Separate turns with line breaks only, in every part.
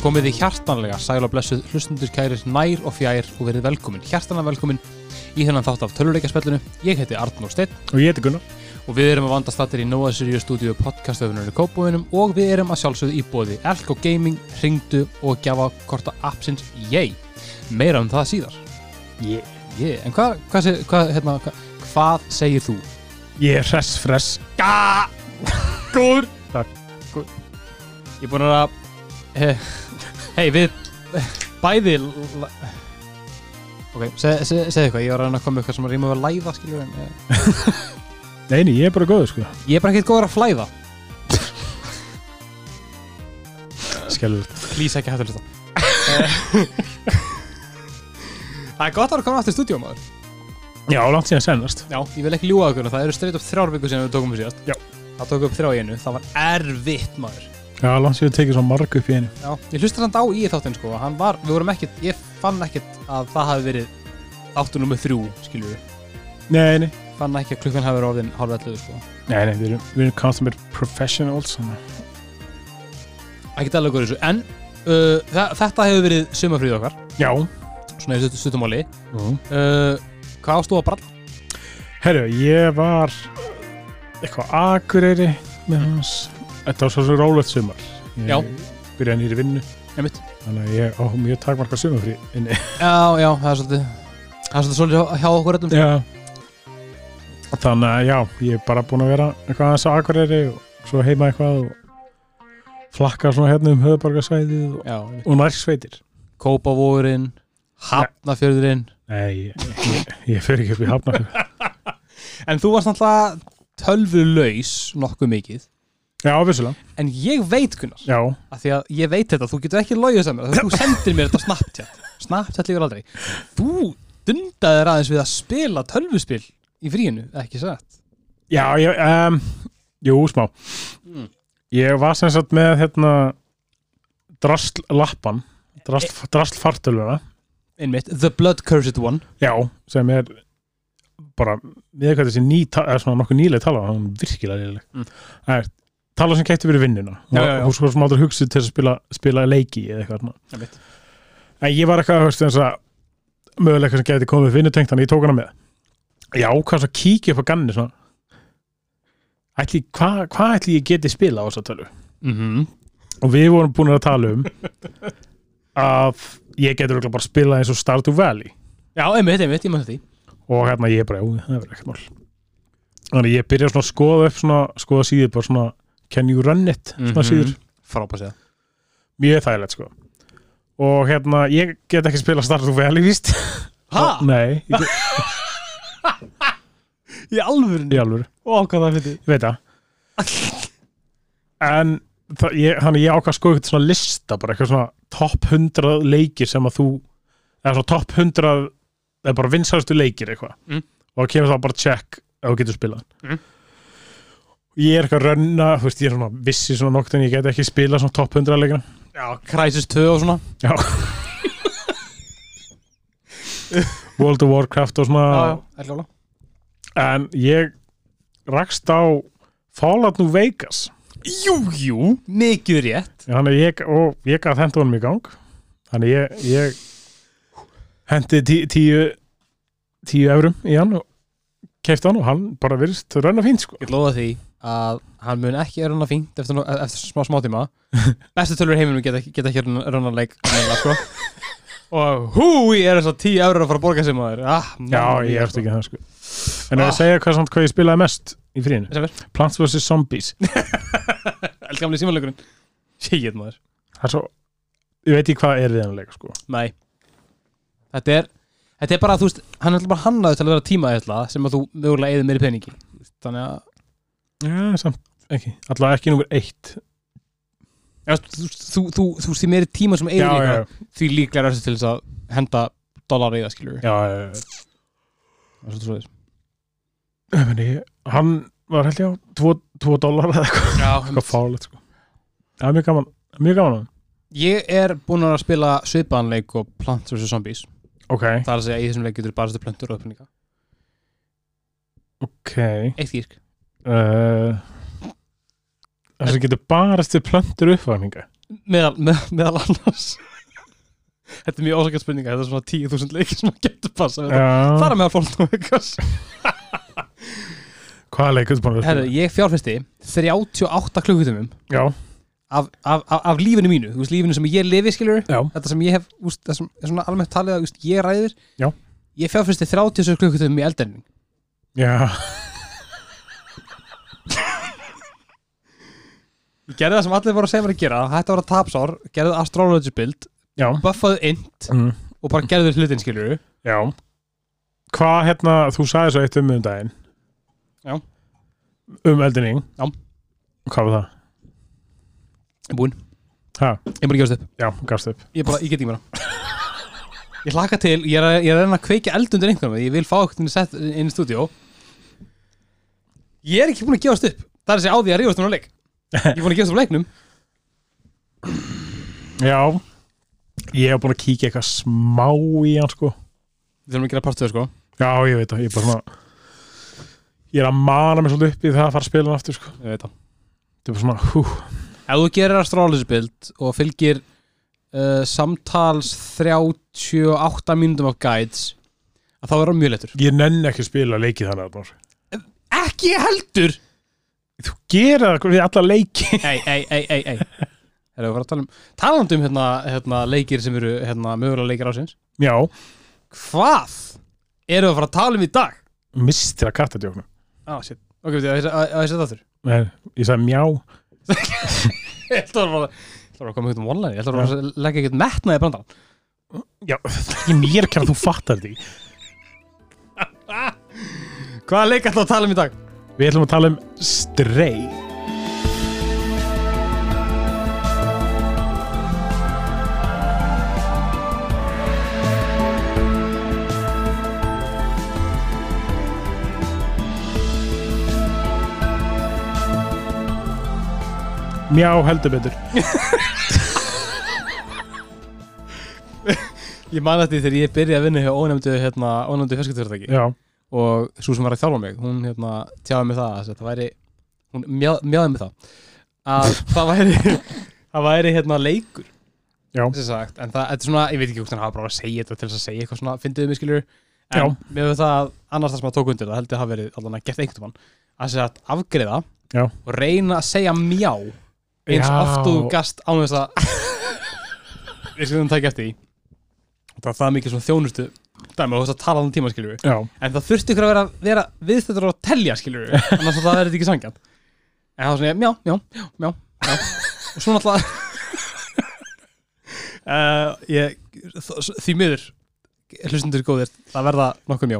Komið þið hjartanlega, sæl og blessuð, hlustundur kærir nær og fjær og verið velkomin, hjartanlega velkomin í þennan þátt af töluleikaspellinu. Ég heiti Arnór Steinn
Og ég heiti Gunnar.
og við erum að vanda stattir í Nóa Sirius stúdíu podcastöfunarinn í Kópúinum og við erum að sjálfsögðu í bóði Elko Gaming, Ringdu og Gjafa Korta Appsins, yay! Meira um það síðar.
Yeah.
Yeah, en hvað, hvað, seg- hvað, hérna, hvað, hvað segir þú?
Ég er hress, fress. Gá! Góður. Takk.
Ég er búin að, hei, hey, við bæði, l- l- ok, seg- seg- segðu eitthvað, ég var að reyna að koma með eitthvað sem að rýma við að læða, skiljum við, en... eh,
Nei, nei, ég er bara góður, sko.
Ég er bara ekkert góður að flæða
Skelur.
Please ekki hættu að hlusta Eh, Það er gott að vera koma aftur í stúdíó maður
Já, langt síðan sennast.
Já, ég vil ekki ljúga okkur Það eru streyt upp þrjár viku sinni við tókum við síðast
Já.
Það tókum við upp þrjá í einu Það var erfitt maður
Já, langt síðan tekið svo marg upp í einu.
Já, ég hlusta þannig á í þáttinn sko Hann var, við vorum ekkert, ég fann ekkert að það hafi verið Þáttu nummer þrjú, skiljum við
Nei, nei.
Fann ekki að klukkan hafi verið orðin hálfveldu sko
Nei, nei, við erum, við erum consummate professionals. þannig að-
Ekki alveg góður í þessu En uh, þa- þetta hefur verið sumafríð okkar
Já.
Svona í stuttum- stuttumáli
Mm.
uh, Hvað ástu að brall?
Herru, ég var eitthvað á akureyri með hans. Þetta var svo svo rólegt sumar. Ég
Já.
Byrjaði nýri vinnu.
Einmitt.
Þannig að ég á mjög takmarka sumafrí inni.
Já, já, það er svolítið Það er svolítið svolítið hjá- hjá okkur öllum sko.
Já Þannig að já, ég er bara búin að vera eitthvað aðeins á Akureyri og svo heima eitthvað og flakka svona hérna um höfuborgarsvæðið og,
Já,
og nærsveitir
Kópavóðurinn Hafnafjörðurinn
Nei, ég, ég, ég fer ekki upp í hafna
En þú varst náttúrulega tölvulaus nokkuð mikið
Já, vissulega
En ég veit Gunnar
Já,
af Því að ég veit þetta, þú getur ekki logið sem mér af því að Þú sendir mér þetta á Snapchat Snapchat líka aldrei Þú dundaðir aðeins við að spila tölvuspil í fríinu, ekki satt
já ég, um, Jú, smá Hmm.
Mm.
Ég var sem sagt með hérna drastlappan drast, drastlfartölvuna
Einmitt, The Blood Cursed One
Já, sem er bara, við eitthvað þessi ný ta- eða svona nokkuð nýlega tala, hún er virkilega nýlega
Mm.
það er tala sem kætti fyrir vinnuna
Já, já, já.
hún svo sem aldrei hugsið til að spila, spila leiki eða eitthvað svona.
Einmitt.
en ég var eitthvað höfst, eins að möguleika sem gæti komið vinnutengt þannig ég tók hana með ég ákvæmst að kíkja upp á ganni svona ætli, hvað hva ætli ég geti spila á þess að tölu
mm -hmm.
og við vorum búin að tala um að ég getur örugglega bara spila eins og Stardew Valley
Já, einmitt, einmitt, ég maður því
og hérna ég bara, já, það verður ekkert mál þannig ég byrja svona að skoða upp svona, skoða síður, bara svona can you run it, svona
Mhm.
síður
Frábæs eða
mjög þægilegt sko og hérna, ég get ekki spila Stardew Valley víst,
Ha?
nei ég get-
Í alvörinu?
í alvöru,
Ó, hvað það fyrir
ég veit það en það, ég, þannig ég ákvað að skoða eitthvað svona lista, bara eitthvað svona top 100 leikir sem að þú eða svona top 100 eða bara vinsælustu leikir eitthvað
Mm.
og það kemur þá bara check ef þú getur spilað
Mm.
ég er eitthvað að rönna þú veist, ég er svona vissi svona nokt en ég get ekki spila svona topp 100 leikina
Já, Crysis 2 og svona
já World of Warcraft og svona
Elgjála
en ég rakst á Fallout New Vegas
Jú, jú, mikið rétt
þannig að ég, og ég gaf hendur honum í gang þannig ég, ég hendi tí, tíu tíu eurum í hann og keifti hann og hann bara virðist rönna fínt sko
Ég lofa því að hann mun ekki rönna fínt eftir, nú- eftir smá smá tíma Bestu tölur í heiminum geta, geta ekki rönna leik meina, sko. Og húi er þess að 10 eurur að fara að borga sem maður ah,
Já,
mamma
ég
mia,
erst ekki það sko En að
Ah.
ég segja hvað, samt, hvað ég spilaði mest í fríinu
Sem er?
Plants vs. Zombies
Eldgamli símanleikurinn Shit maður
Það er svo, ég veit ekki hvað er við hann leika sko
Nei Þetta er, þetta er bara, þú veist, hann er bara hannaður til að vera tíma sem að þú mögulega eða meiri peningi Þannig að
Já, samt, ekki, allavega ekki númer eitt
Já, þú, þú, þú, þú sé meiri tíma sem eigin
já,
ykkur því líklega er þessi til þess að henda dólar í það skilur
já, já, já.
við
Ég meni, ég- Hann var held ég á 2 dólar eða eitthvað,
Já,
eitthvað fálegt sko Það er mjög gaman, mjög gaman á hann
ég er búinn að spila svipaðanleik og Plants vs. Zombies
Ok,
það er að segja í þessum leik getur bara þetta plöntur og uppninga
ok eh,
eitt gírk
uh, Það sem getur barist við plöntur uppvæninga
meðal, með, meðal annars Þetta er mjög ásakað spurninga Þetta er svona 10.000 leikir sem að getur passa ja. Það
Já,
er meðal Fallout New Vegas
hvaða leik ertu búin að
Herru,
spila?
ég fjárfesti 38 klukkutumum
Já,
af, af, af, af lífinu mínu Þú veist, lífinu sem ég lifi skilur
já,
Þetta sem ég hef, þú veist, það sem er svona almennt talið að þú veist, ég ræðir
Já.
Ég fjárfesti 37 klukkutumum í eldenning
já
Ég gerði það sem allir voru að segja mér að gera Hætti að vera tapsár, gerði astrology build
Já,
Buffaðu int
mm,
og bara gerði hlutin skilur
já Hvað hérna, þú sagði svo eitt um um daginn
Já.
Um eldinning
Já.
Hvað var það?
Búinn
Ha?
Ég bara gefast upp
Já, gafst upp
Ég bara, ég get ekki meira Ég hlaka til, ég er, að- ég er að reyna að kveikja eld undir einhverjum Ég vil fá okkur sett inn í stúdíó Ég er ekki búinn að gefast upp Það er þessi á því að rífast um að leik Ég er búinn að gefast upp á leiknum
Já Ég hef búin að kíkja eitthvað smá í hann sko
Við þurfum að gera partuðu sko
Já, ég veit það, ég er bara svona Ég er að mana mig svolítið upp í það að fara að spila hann aftur sko.
Ég veit það
Þetta er bara svona, hú,
Ef þú gerir astrology build og fylgir uh, samtals 38 mínútum af guides að þá er það mjög letur
ég nenni ekki að spila leiki þannig að bara.
Ekki heldur
Þú gerir það við alla leiki
Ei, ei, ei, ei, ei Erum við að fara að tala um Talandi um hérna, hérna leikir sem eru hérna, mögulega leikir ásins
Já,
Hvað erum við að fara að tala um í dag?
mistir að katta djóknum
Á, ah, shit Ok, veit ég, að ég- að að ég setja aftur
Nei, ég sagði mjá
Ég ætla að fara Ég ætla að koma eitthvað um online Ég ætla að fara að leggja eitthvað metnaði brandan
Já, það er ekki mér kæra þú fattar því
Hvaða leik ætla að tala um í dag?
Við ætlum að tala um strey Mjá heldur betur
Ég man þetta þegar ég byrjaði að vinna hjá ónefndu, hérna, ónefndu fjarskiptverðarki
Já,
Og svo sem var að þjálfa mig, hún hérna, tjáði mig það að þetta væri Hún mjá, mjáði mig það Að það væri, það væri hérna leikur
já,
sem sagt, en það, þetta er svona, ég veit ekki hvort hann hafa bara að segja þetta til þess að segja eitthvað svona, fyndið mig skiljur
Já.
en mér hefur það að annars það sem að tók undir það held ég að hafa verið allan að gert einhvern mann að segja að afgriða
Já.
og reyna að segja mjá eins
Já.
oft og þú gast án þess að við skiljum það gert í og það er það mikið svona þjónustu dæmi og þú veist að tala um tíma skiljur
já
en það þurfti ykkur að vera, vera viðstættur og telja skilur við, annars að það verður ekki sangjant en það var svona, já, já, já, já, já. og svona alltaf uh, ég, þ- því miður hlustundur góðir, það verða nokkuð mjó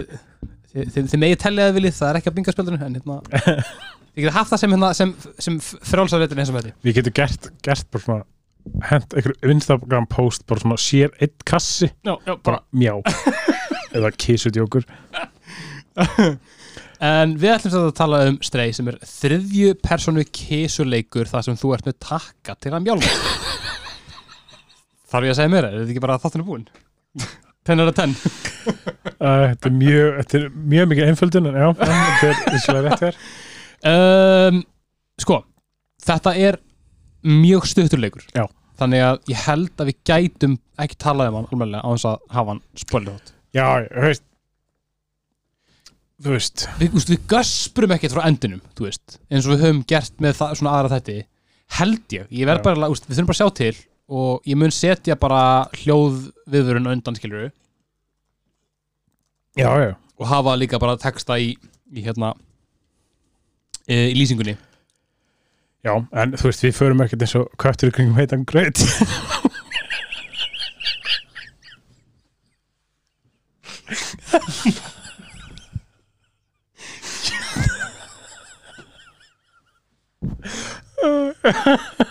þið, þið, þið megið telja að viljið, það er ekki að binga spjöldinu en hérna þið getið haft það sem, hérna, sem, sem frálsafréttin eins og með því
Við getum gert, gert bara svona hent einhverju Instagram post bara svona sér eitt kassi
já, já,
bara mjá eða kísudjókur
En við ætlum samt að tala um Stray sem er þriðju personu kísuleikur þar sem þú ert með takka til að mjálma Þarf ég að segja meira, er þetta ekki bara að þáttan er búin? Ten out of ten
Uh, þetta er mjög, þetta er mjög mikið einföldun en já, þetta er visslega rétt hér
um, Sko, þetta er mjög stuttur leikur
Já.
Þannig að ég held að við gætum ekki talað um hann alveg á þess að hafa hann spoiler hot
Já, þú veist Þú veist
Við, úst, við gösprum ekkert frá endinum, þú veist eins og við höfum gert með það, svona aðra þætti held ég, ég verð
Já.
bara úst, við þurfum bara að sjá til og ég mun setja bara hljóð viðurinn undan skilur
Já, já,
og hafa líka bara texta í, í hérna e, í lýsingunni
já, en þú veist, við förum ekkert eins og köttur í kringum heitan gröð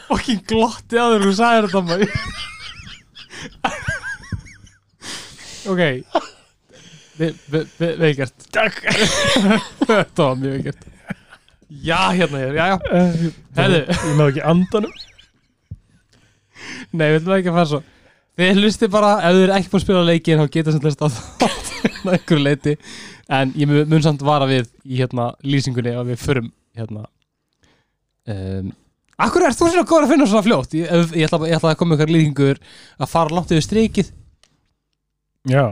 Fokkin glotti að þeir þú sagði þetta maður Ok Ve- ve- ve- Vel gert
Takk
Þetta var mjög vel gert Já, hérna ég er, já, já Herðu.
Ég náðu ekki andanum
Nei, við ætlum ekki að fara svo Þið hlustið bara, ef þið eru ekki búin að spila leikin þá geta sem hlust á það einhverju leiti, en ég mun mun samt vara við í hérna lýsingunni að við förum hérna um, Akkur er þú svona góður að finna svona fljótt Ég, ef- ég, ætla, ég ætla að koma ykkur lýðingur að fara langt yfir streikið
Já,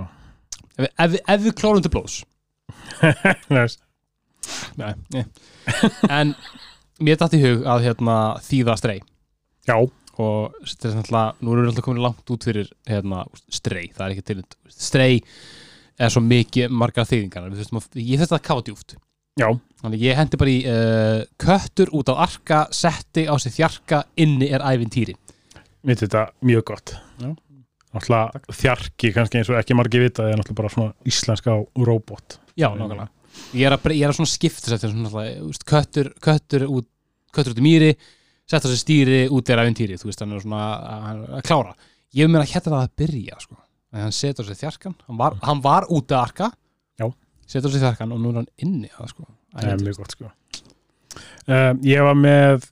Ef, við- ef, við- ef við klórum til blóðs
þú veist
Nei, nei. En mér datt í hug að hérna, þýða strei
Já,
og Sko, þetta er náttúrulega, nú erum við alltaf komin langt út fyrir hérna, strei, það er ekki til strei er svo mikið margar þýðingar, Við þurftum að- ég þurfti að kafa djúft
já,
þannig ég hendi bara í uh, köttur út á arka, setti á sig þjarka inni er ævintýri
mitt þetta mjög gott
Já.
Náttúrulega þjarki kannski eins og ekki margi vita Það er náttúrulega bara svona íslenska á robot
já, nákvæmlega ég er að, bre- ég er að svona skipta þetta svona, náttúrulega, þú veist, köttur, köttur, út, köttur út í mýri setta á sig stýri út er ævintýri þú veist, hann er svona að, að, að klára ég meina hérna er það að byrja sko. Þannig að hann setur á sig þjarkan, hann var, hann var út að arka
Já.
setur á sig þjarkan og nú er hann inni að, sko.
Það er
Ævintýri.
mjög gott sko um, Ég var með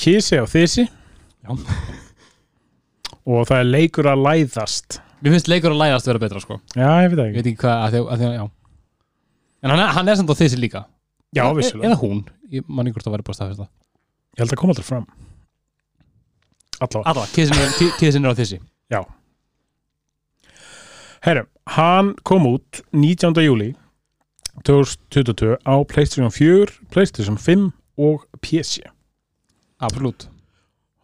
kísi og þysi
Já.
Og það er leikur að læðast
mér finnst leikur að læðast vera betra sko.
Já, ég veit það
ég
ekki
veit ekki hvað, að því, að því, já. en hann, er- hann er samt á þessi líka
Já,
E-
vissulega
eða hún, ég man ykkur að vera búið að staðfesta
Ég held að koma aldrei fram Allá
Alla, kissin er, ki- kissin er á þessi
Herru, hann kom út 19. júli 2022 á Playstation 4, Playstation 5 og PC
absolutt,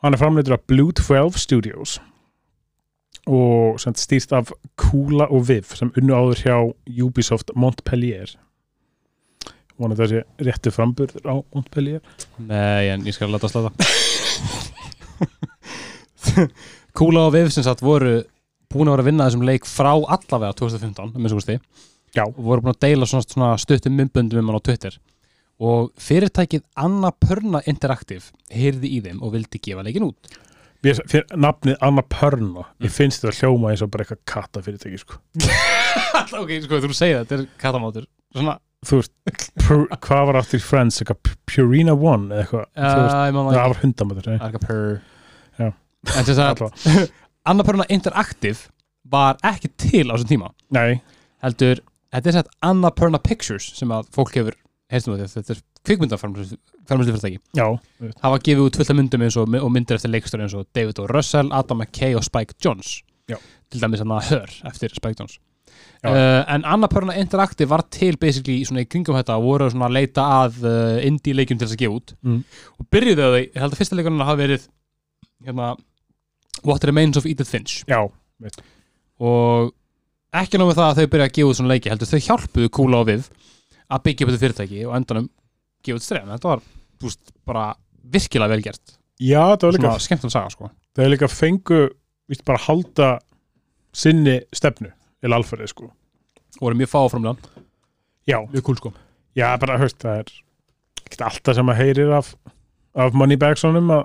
Hann er framleitur af Blue 12 Studios og sem sagt stýrt af Kula og Viv sem unnu áður hjá Ubisoft Montpellier vonandi þessi réttu framburður á Montpellier
nei en ég skal láta að slata Kúla og Viv sem sagt voru búin að vera að vinna að þessum leik frá allavega 2015, að minnst kosti
Já.
og voru búin að deila svona, svona stuttum myndböndum um hann á Twitter og fyrirtækið Anna Pörna Interactive heyrði í þeim og vildi gefa leikin út
Mér, fyrir nafnið Anna Pörna ég finnst þetta hljóma eins og bara eitthvað katta fyrirtæki sko.
Alla, ok, sko, þú segir það, þetta er katamátur svona,
þú veist, pur, hvað var aftur í Friends, eitthvað P- Purina One eða eitthvað,
uh,
þú veist,
ég maður
það var hundamöður
Arga Purr
Já.
En þess að Anna Pörna Interactive var ekki til á þessum tíma
nei,
heldur, þetta er sett Anna Pörna Pictures sem að fólk hefur heyrtum að þetta er kvikmyndarfarmlustufyrirtæki
já,
hafa gefið út fullta myndum eins og, og myndir eftir leikstöru eins og David O. Russell, Adam McKay og Spike Jones
Já.
til dæmis hann að hör eftir Spike Jones
Já.
Uh, en Anna Pörna Interactive var til basically í svona í kringum þetta voru svona að leita að uh, indie leikjum til þess að gefa út
Mm.
og byrjuðu þau, ég held að fyrsta leikurinn hafa verið hérna What Remains of Edith Finch
já,
og ekki nóg með það að þau byrja að gefa út svona leiki heldur þau hjálpuðu kúla á við að byggja upp þetta fyrirtæki og á endanum gefa út strefn þetta var þú veist, bara virkilega vel gert
já, það var líka
svona skemmtum saga sko
það er líka fengu, víst bara halda sinni stefnu eða alfarið, sko,
og voru mjög fáframlega
já,
mjög kúl sko
já, bara, höfst, það er ekkert alltaf sem að heyrir af af Moneybagsonum að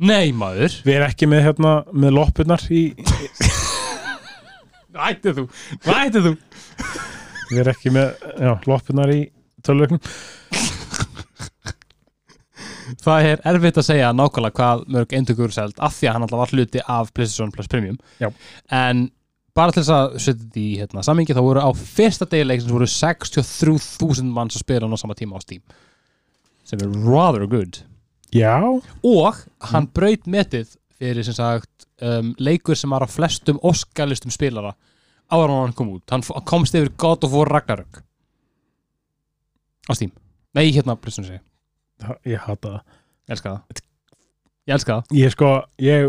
Nei maður
við erum ekki með hérna, með loppurnar í,
Ættið þú Ættið þú
við erum ekki með, já, loppurnar í tölvöknum,
Það er erfitt að segja nákvæmlega hvað mörg eindöku eru seld af því að hann alltaf var hluti af PlayStation Plus Premium
Já.
en bara til þess að setja þetta í hérna, samingi þá voru á fyrsta degi leiksins voru 63.000 manns að spila hann á sama tíma á Steam sem er rather good
já
og hann braut metið fyrir sem sagt um, leikur sem var á flestum óskalistum spilara áður en hann kom út hann f- komst yfir God of War Ragnarök á Steam nei hérna PlayStation segi,
það- ég hata það
ég elska það ég elska það
ég sko ég,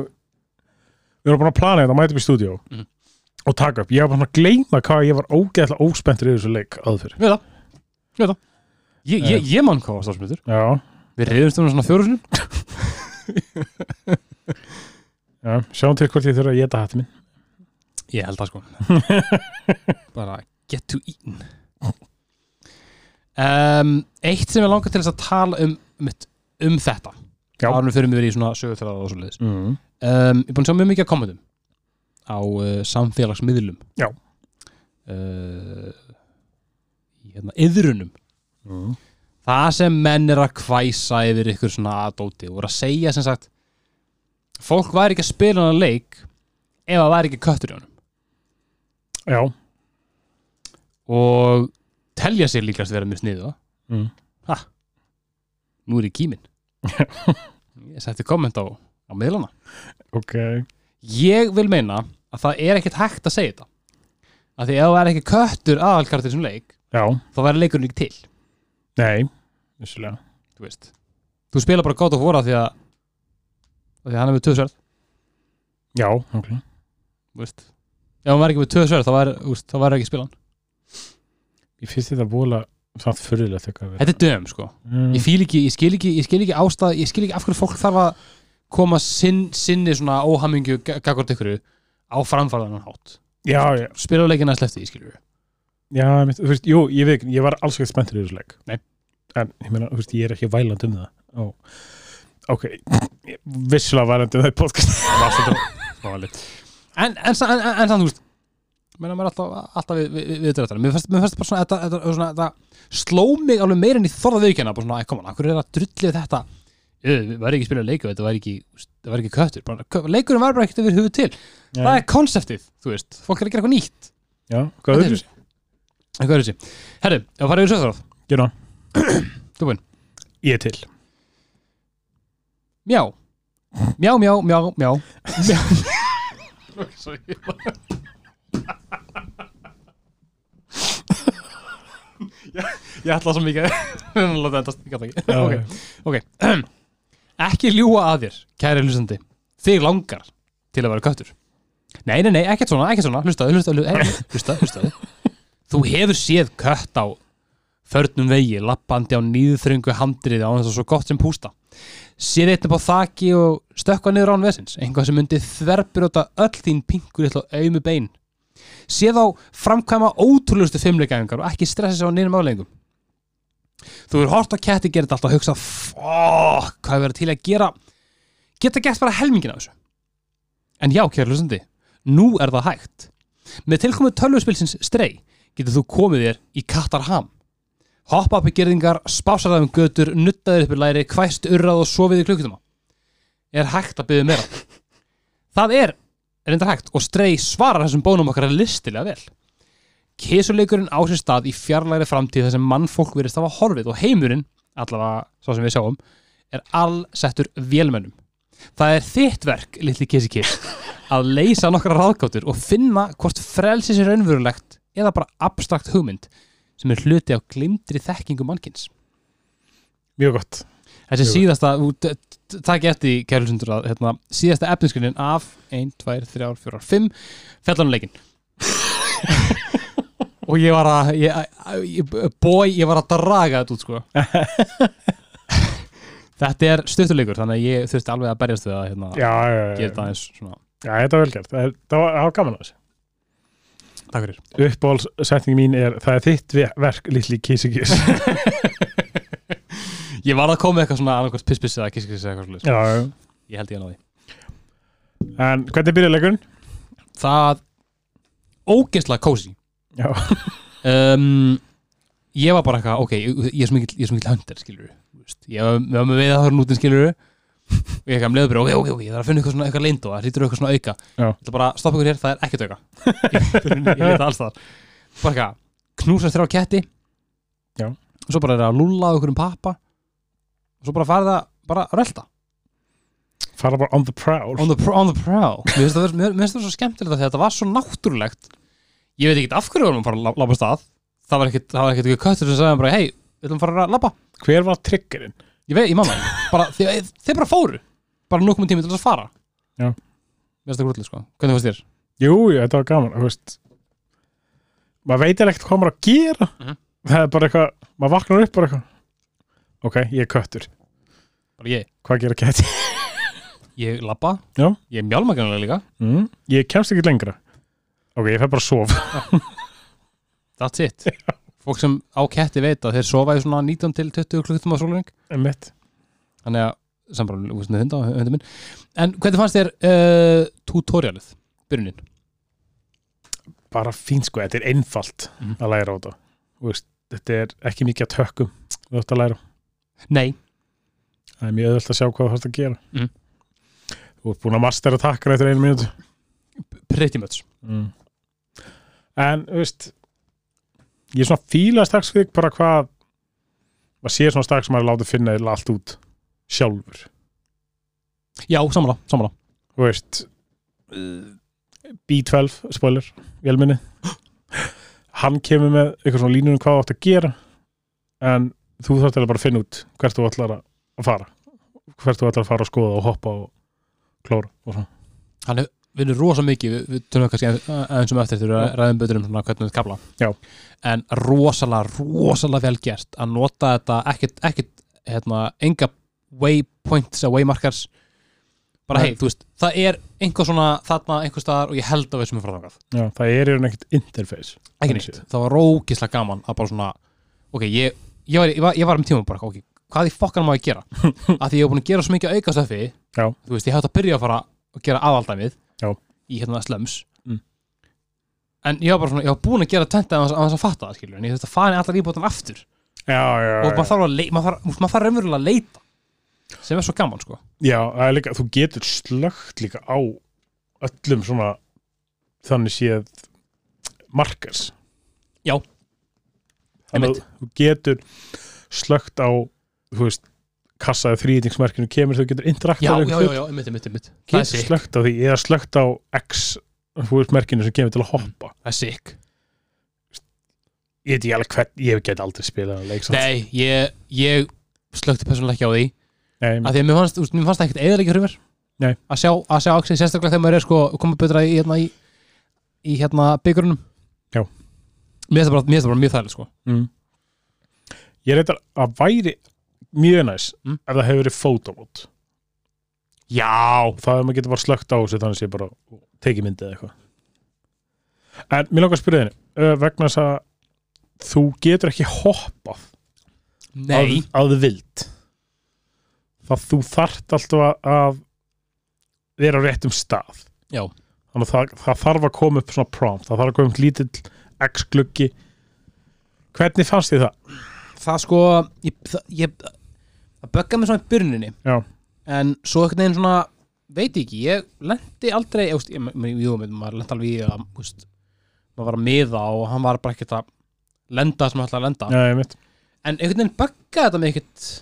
við erum búin að plana þetta, mæta upp í stúdíó
Mhm.
og taka upp, ég var bara að gleyma hvað ég var ógeðlega óspenntur í þessu leik aðfyrir
Við það, við það Ég, ég, ég mann hvað var stafsmyndur
já,
Við reyðumst um hana svona fjóru sinum
já, sjáum til hvort ég þurfa að geta hætti minn
Ég held það sko Bara get to eaten um, Eitt sem ég langar til þess að tala um mitt, um þetta
Já.
Árum við fyrir mér í svona sögutræða og svo leiðis
mm.
um, Ég er búin að sjá mjög mikið af kommentum á uh, samfélagsmiðlum
Já.
uh, í hérna, Yðrunum mhm. það sem menn er að kvæsa yfir ykkur svona aðdóti og er að segja sem sagt fólk væri ekki að spila hann leik ef það væri ekki köttur í
já,
honum og telja sér Mhm. líkast vera mjög sniðu
Mm.
ha, nú er ég kímin ég setti komment á, á miðlana
ok,
ég vil meina að það er ekkert hægt að segja þetta af því ef það er ekki köttur aðalkartur sem leik
já,
þá verður leikurinn ekki til
nei vissulega,
þú veist þú spila bara God of War af því að af því að hann er með tvö sverð
já, ok
þú veist ef hann var ekki með tvö sverð þá væri, þú veist, þá væri ekki spilan
ég finnst þetta búinlega það fyrirlega þegar
þetta er döm sko ég
mm,
fíl ekki ég skil ekki ég skil ekki ástæð ég skil ekki af hverju fólk þarf að koma sinn, sinni svona óhamingju gagvart ykkur á framfæðanan hátt
já, já,
spila leikina slefti ég skilur við
já mitt, þú veist, jú, ég veit ekki, ég var alls ekki spenntur í þessu leik
Nei.
en ég meina, þú veist, ég er ekki væland um það Ó. ok, ég- vissulega væland um það í podcast
það var svolítið smáleitt en, en, sa- en, en, en samt, þú veist menna maður alltaf, alltaf við, við, við þetta mér fannst mér fannst bara svona, þetta, þetta, svona þetta sló mig alveg meira en ég þorða viðkjanna bara svona, "Æ, koma, hvað er það drullið þetta Ö, við væri ekki spilað leikur, þetta væri ekki það væri ekki köttur, bara, kö- leikurinn var bara ekkert yfir höfuð til, það er konseptið þú veist, fólk er að gera eitthvað nýtt
já, hvað
Þetta
er
er-
þessu?
eitthvað er þessi, herru, ef að fara yfir sögþráð
Gjörðu það.
Þú búinn?
Ég er til
mjá, mjá, mjá, mjá, mjá mjá sorry, ég bara ég ætla svo mikið við erum að láta endast ég gat það ekki.
Já,
ok, ok ekki ljúa að þér, kæri hlustandi þig langar til að vera köttur nei, nei, nei, ekkert svona, ekkert svona hlustaðu, hlustaðu, hlustaðu, hlustaðu, hlustaðu. þú hefur séð kött á förnum vegi, lappandi á nýðþröngu handriði á þess að svo gott sem pústa séð eitt upp á þaki og stökkva niður án vesins, einhvað sem myndi þverbrjóta öll þín pinkur eitthvað auðmu bein séð á framkvæma ótrúlustu fimmleikæfingar og ekki stressa sig á nýjum afleggingum þú er hort á ketti gera þetta alltaf að hugsa fokk, hvað er verið til að gera geta gert bara helmingin af þessu en já, kæra hlustandi nú er það hægt með tilkomu tölvuspilsins strei getur þú komið þér í Katarham hoppa upp í gerðingar, spásarðaðum götur, nuttaðir upp í læri, hvæst urrað og sofið í klukkutuma. Er hægt að byggja meira? Það er reyndar hægt og strei svarar þessum bónum okkar listilega vel. Kesuleikurinn á sér stað í fjarlæri framtíð þar sem mannfólk verist hafa horfið og heimurinn, allavega svo sem við sjáum, er allsettur vélmönnum. Það er þitt verk, litli kesi kes, að leysa nokkra ráðgáttur og finna hvort frelsi sér raunverulegt eða bara abstrakt hugmynd sem er hluti á glimtri þekkingu mannkins.
mjög gott
Þessi
Jú.
síðasta, þú t- t- takk ég eftir kærlusundur að hérna, síðasta efninskrinin af 1, 2, 3, 4, 5 fellanuleikin og ég var að ég, að- ég, boy, ég var að draga þetta út sko Þetta er stuttuleikur þannig að ég þurfti alveg að berjast við að hérna,
já, já, já,
gera
já,
þetta aðeins svona
þetta er vel gert það er- það var, það var gaman að þessu
Takk fyrir
uppbólsetning mín er það er þitt ve- verk litli kísikís
Ég var að koma með eitthvað svona annarkvæmst piss-piss eða kiss-kiss eða eitthvað svolítið
já, já.
Ég held ég að ná því
en hvernig byrja leikurinn?
Það ógeðslega kósi
já,
um, ég var bara eitthvað ok, ég, ég er svo mikill, ég er svo mikill höndar skilur ég var við varum með að horn út skilur og ég eitthvað um leiður bara, ok, ok, ok, ég þarf að finna eitthvað svona eitthvað leindó, það hlýtur eitthvað svona auka
Já.
ég ætla bara að stoppa ykkur hér, það er ekkert auka ég, ég leita alls þar bara eitthvað, knúsast þrjá ketti
Já.
og svo bara er að lúlla á ykkur um pappa og svo bara farið að bara að rölta
fara bara on the prowl
on the, pr- on the prowl mér finnst það vera- mér- mér finnst það svo skemmtilegt af því að þetta var svo náttúrulegt ég veit ekkert af hverju við varum að fara að la- labba af stað það var ekkert, það var ekkert ekki köttur sem sagði bara hei, við ætlum að fara að labba
hver var triggerinn?
ég veit, ég mamma, bara, þeir, þeir bara fóru bara nú komum tími til þess að fara
Já.
mér finnst það grútlega sko, hvernig fannst þér?
jú, jú, þetta var gaman þú veist. maður veit ekkert hvað maður á að gera
Mhm.
það er bara eitthvað, maður vaknar upp bara eitthvað ok, ég er köttur,
bara ég,
hvað gera kæti?
ég labba
Já.
ég mjálma gæmlega líka,
Mm. ég kemst ekki lengra ok, ég fer bara að sofa
that's it fólk sem á ketti veit að þeir sofa í svona 19 til 20 klukkutum á sólurinn
Einmitt.
þannig að sambarlega úr svona hunda, hunda minn en hvernig fannst þér uh, tutorialið, byrjunin?
bara fín sko, þetta er einfalt
Mhm.
að læra á þetta Þú veist, þetta er ekki mikið að tökum þú ætti að læra,
Nei,
það er mjög öðvöld að sjá hvað þú ætti að gera
Mhm.
þú ert búin að mastera takkar eftir einu mínútu
pretty much
mm. en, þú veist ég er svona að fíla strax við bara hvað maður sér svona strax að maður látið finna allt út sjálfur
Já, samanlá, samanlá
þú veist uh, B12, spoiler vélminni hann kemur með eitthvað svona línunum hvað þú átt að gera en þú þarft eða bara að finna út hvert þú ætlar að að fara hvert þú ætlar að fara að skoða og hoppa og klóra og svona
Hann hef- vinnur rosa mikið, við, við tölum kannski aðe- aðeins um eftir þegar við ræðum betur um svona hvernig við kabla
Já.
En rosalega, rosalega vel gert að nota þetta ekkert, ekkert hérna, enga waypoints eða waymarkers bara
Nei.
hei, þú veist, það er einhver svona þarna einhver staðar og ég held að við sem er frá þangað
Já, það er í raun ekkert interface
ekki
Þannig
neitt, það var rókislega gaman að bara svona, ok, ég ég var, ég var, ég var um tíma bara, ok, hvað í fokkan má ég gera að því ég var búin að gera svo mikið aukastöfi
Já.
þú veist, ég hætti að byrja að fara að gera aðaldæmið
Já.
í hérna slums
Mm.
en ég var bara svona, ég var búin að gera tenta að þess að fatta það, skilur, en ég þurfti að fara í allar íbútan aftur
Já, já,
og maður
já,
þarf að leita, maður þarf- þú veist, maður þarf raunverulega að leita sem er svo gaman, sko
já það er líka, þú getur slögt líka á öllum svona þannig séð markers
Já.
Þannig
Einmitt.
að þú getur slögt á þú veist, kassa eða þrýtingsmerkinu kemur þú getur
já, já,
interaktað
já, já, einmitt, einmitt, einmitt það er
getur
sick,
slögt á því eða slögt á X þú veist, merkinu sem kemur til að hoppa
það er sick
ég veit ég alveg hvern, ég get aldrei spilað að leik samt.
nei, ég, ég slökti persónulega ekki á því
Nei,
að því að mér fannst, úst, mér fannst það ekkert eðalega hrjumir
Nei.
að sjá, að sjá Axel sérstaklega þegar maður er sko komið betra í hérna í, í hérna byggurunum
Já.
mér finnst það bara, mér finnst það bara mjög þærlega sko
mm. ég reyndar að væri mjög næs
Mm.
ef það hefur verið fótomót
já,
það er maður getur bara slögt á þessu þannig sé bara tekið myndið eða eitthvað en mér langar að spyrja þenni uh, vegna þess að þú getur ekki hoppað að,
nei,
að vild það þú þart alltaf að, að vera á réttum stað
Já.
þannig að það, það þarf að koma upp svona prompt það þarf að koma upp lítill x-gluggi hvernig fannst þið það?
það sko ég, það, ég, það böggaði mig svona í byrninni
Já.
en svo einhvern veginn svona veit ég ekki, ég lendi aldrei ég, úst, ég, ég, jú, maður lendi alveg í að úst, maður var að miða og hann var bara ekkert að lenda sem hann ætlaði að lenda
Já, ég mitt
en einhvern veginn böggaði þetta með ekkert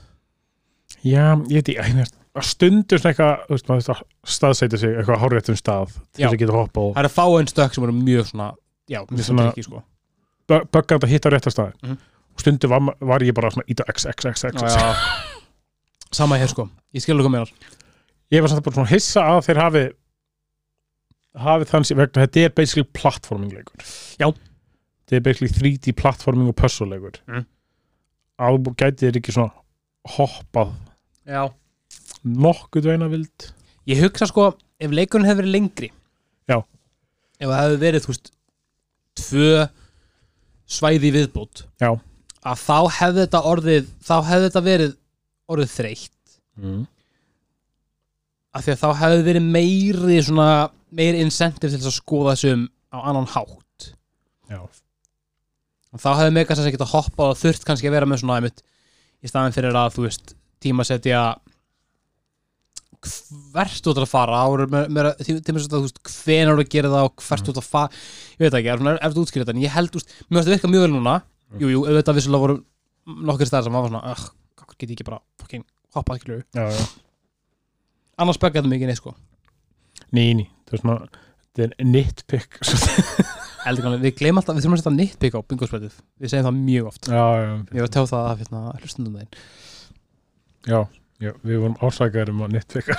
Já, ég veit ekki, að stundur svona eitthvað, þú veist, maður þurft að staðsæta sig eitthvað háréttum stað til
Já.
þess að geta hoppa og
það eru fáeinn stökk sem eru mjög svona já, mjög svona
Svona-
trikki sko
bö- bögga þetta hitt á rétta staði
Mhm.
og stundur var, ma- var ég bara svona íta x, x, x, x, x.
sama hér sko, ég skilur hvað mér
Ég var samt bara svona hissa að þeir hafi hafi þann sér vegna þetta er basically platforming leikur
Já.
Þetta er basically 3D platforming og puzzle leikur
Mhm.
að þú gæti þér ekki svona hoppað
já.
nokkuð veina vild
ég hugsa sko, ef leikurinn hefði verið lengri
Já.
ef það hefði verið, þú veist tvö svæði í viðbót
Já.
að þá hefði þetta orðið þá hefði þetta verið orðið þreytt Mhm.
mm.
af því að þá hefði verið meiri svona, meiri incentive til þess að skoða þessum á annan hátt
Já,
og þá hefði Megas þess að geta hoppað og þurft kannski að vera með svona einmitt í staðin fyrir að þú veist tíma setja hvert þú ert að fara ára, með, með, tíma setja þú veist hvenær þú ert að gera það og hvert þú ert að fara ég veit ekki, er svona eftir útskýrða þetta en ég held, þú veist, mér varst að virka mjög vel núna jú, jú, auðvitað vissulega voru nokkur stærðar sem maður var svona, ah, hvað get ég ekki bara fucking hoppað skilur,
já, já
annars beggar þetta mikið neitt sko
Nei, nei, það er svona þetta er nitpick já,
heldur kannan, við gleym alltaf, við þurfum að setja nitpick á bingospætið, við segjum það mjög oft
já,
ég var að tjá það af hérna hlustundum þeim
já, já, við vorum ásakaður um að nitpick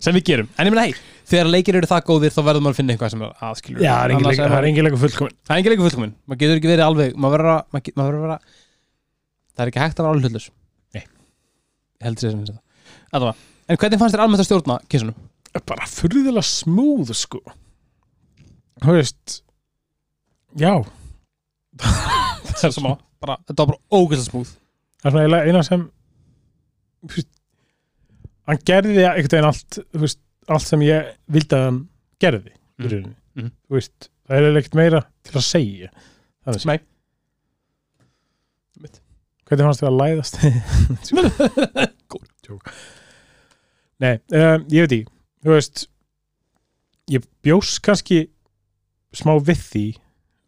sem við gerum, en ég meina hei þegar leikir eru það góðir þá verður maður að finna eitthvað sem er aðskilur
Já, það er engin leikur- það er engin leikur fullkomin
það er engin leikur fullkominn, maður getur ekki verið alveg maður verður að, maður, get- maður verður að vera það er ekki hægt að vera alveg hlutlus
Nei.
ég heldur þess að minnst það Allavega. en hvernig fannst þér almennt að stjórna kissunum?
Bara furðilega smúð, sko Þú veist Já,
það er sama, bara, þetta var bara ógæslega smúð
það er svona eiginlega eina sem þú veist, Hann gerði einhvern veginn allt þú veist, allt sem ég vildi að hann gerði
Mm.
mm.
Mhm.
mm. veist, Það er eiginlega ekkert meira til að segja Þannig sé
Nei. Einmitt.
Hvernig fannst þér að læðast? Tjók Nei, um, ég veit ekki Þú veist Ég bjós kannski smá við því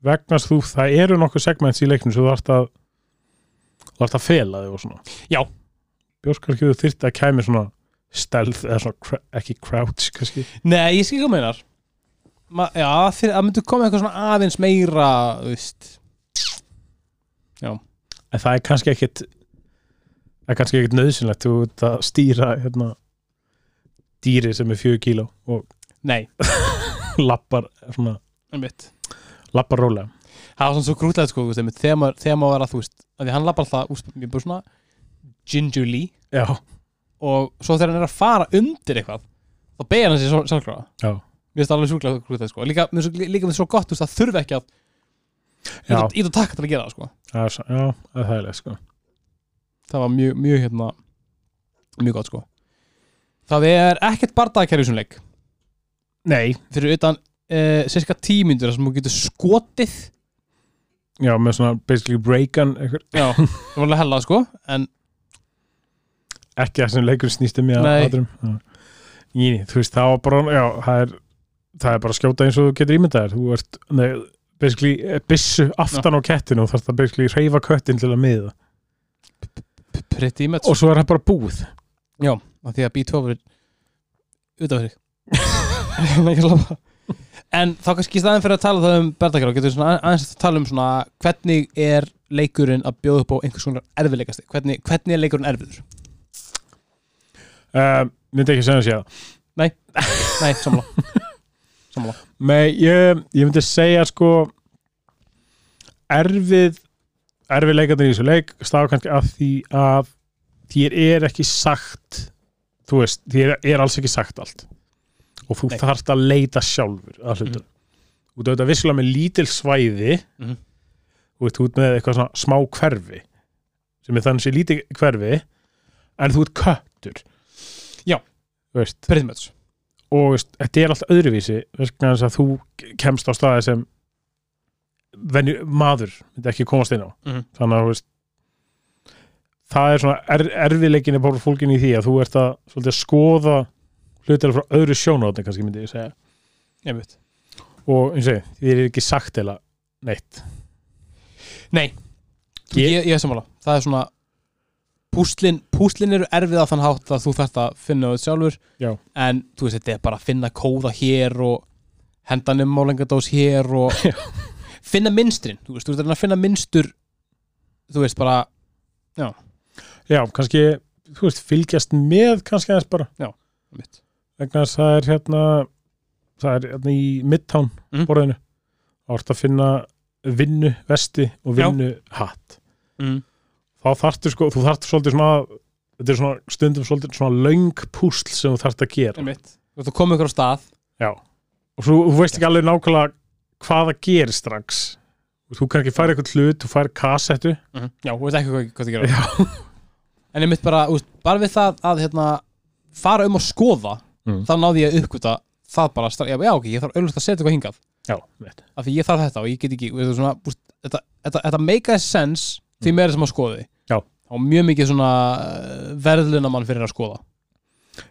vegna þess að þú, það eru nokkuð segments í leiknum sem þú þarft að þú þarft að fela þig og svona
Já.
Bjós kannski þú þyrfti að kæmi svona stealth eða svona cr ekki crouch kannski
Nei, ég skil hvað þú meinar Ma, Já, fyrir, það myndi koma eitthvað svona aðeins meira þú veist.
en það er kannski ekkit það er kannski ekkit nöðsynlegt þú ert að stýra hérna dýri sem er fjögur kíló og
Nei,
lappar svona
einmitt
lappar rólega
Það var svona svo grútlega sko, þú veist, einmitt, þegar maður, þegar maður var að þú veist að því hann lappa alltaf úr mjög bara svona gingerly
já
og svo þegar hann er að fara undir eitthvað þá beigir hann sér sjálfkráða
Já.
Mér finnst það alveg sjúklega grútlega sko Líka, mér finnst svo- líka með svo gott, þú veist, það þurfi ekki að
já
ít og takk til að gera það sko
það er, sa- já það er þægilegt sko
það var mjög, mjög hérna mjög gott sko það er ekkert bardaðkerfi sem leik
nei
fyrir utan uh, cirka tímyndur þar sem þú getur skotið
já með svona basically break-on einhver-
já, það var alveg hella sko en
ekki það sem leikur snýstum ég
Nei.
aðrum Jíni, þú veist, það var bara já, það, er, það er bara að skjóta eins og þú getur ímyndaðir þú ert, nei, basically eh, byssu aftan á kettinu og þarf það basically reyfa köttin til að miða
p- pretty much
og svo er það bara búið
já, af því að B2 var utanfyrir Ég er ekki að labba. en þá kannski í staðin fyrir að tala það um bardaðkerfi getur við svona að- aðeins að tala um svona hvernig er leikurinn að bjóða upp á einhvers konar erfiðleikasti hvernig, hvernig er leikurinn erfiður
uh, myndi ekki segja að sé það
nei, samla
Nei, ég, ég myndi segja sko erfið erfið leikarnir í þessu leik stafa kannski að því að þér er ekki sagt þú veist, þér er alls ekki sagt allt og þú
Nei.
þarft að leita sjálfur að hlutum mm. út auðvitað vissulega með lítil svæði
Mhm.
þú veist, út með eitthvað svona smá hverfi sem er þannig sé lítið hverfi en þú ert köttur
Já.
Þú veist,
pretty much
og veist, þetta er alltaf öðruvísi vegna þess að þú kemst á staði sem venju, maður myndi ekki komast inn á
Mhm.
þannig að þú veist, það er svona er, erfiðleikinni bara fólkinni í því að þú ert að svolítið, skoða hlutlega frá öðru sjónarotni kannski myndi ég segja
ég veit
og eins og ég, því er ekki sagt eða neitt
Nei,
Ég-
ég, ég, er sammála Það er svona Púslin, púslin eru erfið að þann hátt að þú þarft að finna þau sjálfur
Já.
En þú veist, þetta er bara að finna kóða hér og henda hendanum málengadós hér og finna minnstrin, þú veist, þú veist, þú veist að finna minnstur þú veist, bara
já, kannski, þú veist, fylgjast með kannski aðeins bara
mitt.
vegna þess að það er hérna það er hérna í Midtown
Mhm.
borðinu þá ertu að finna vinnu vesti og
Já.
vinnu hatt
Mm.
þá þarftu sko, þú þarftu svolítið svona þetta er svona stundum svolítið svona löng púsl sem þú þarft að gera
mitt. Þú veist, þú komið ykkur á stað
og svo, þú veist ekki alveg nákvæmlega hvað það gerir strax Og þú kannski færi eitthvað hlut, þú færi kassettu
Já, þú veist ekki hvað, hvað það gera
Já.
En einmitt bara, þú veist, bara við það að hérna, fara um og skoða
Mm.
þá náði ég að uppgöta það bara stra- já, já, ok, ég þarf auðvitað að setja eitthvað hingað
já, veit.
af því ég þarf þetta og ég get ekki við, erum svona, búst, þetta, þetta, þetta make a sense því meira sem að skoði
Já.
og mjög mikið svona verðluna mann fyrir að skoða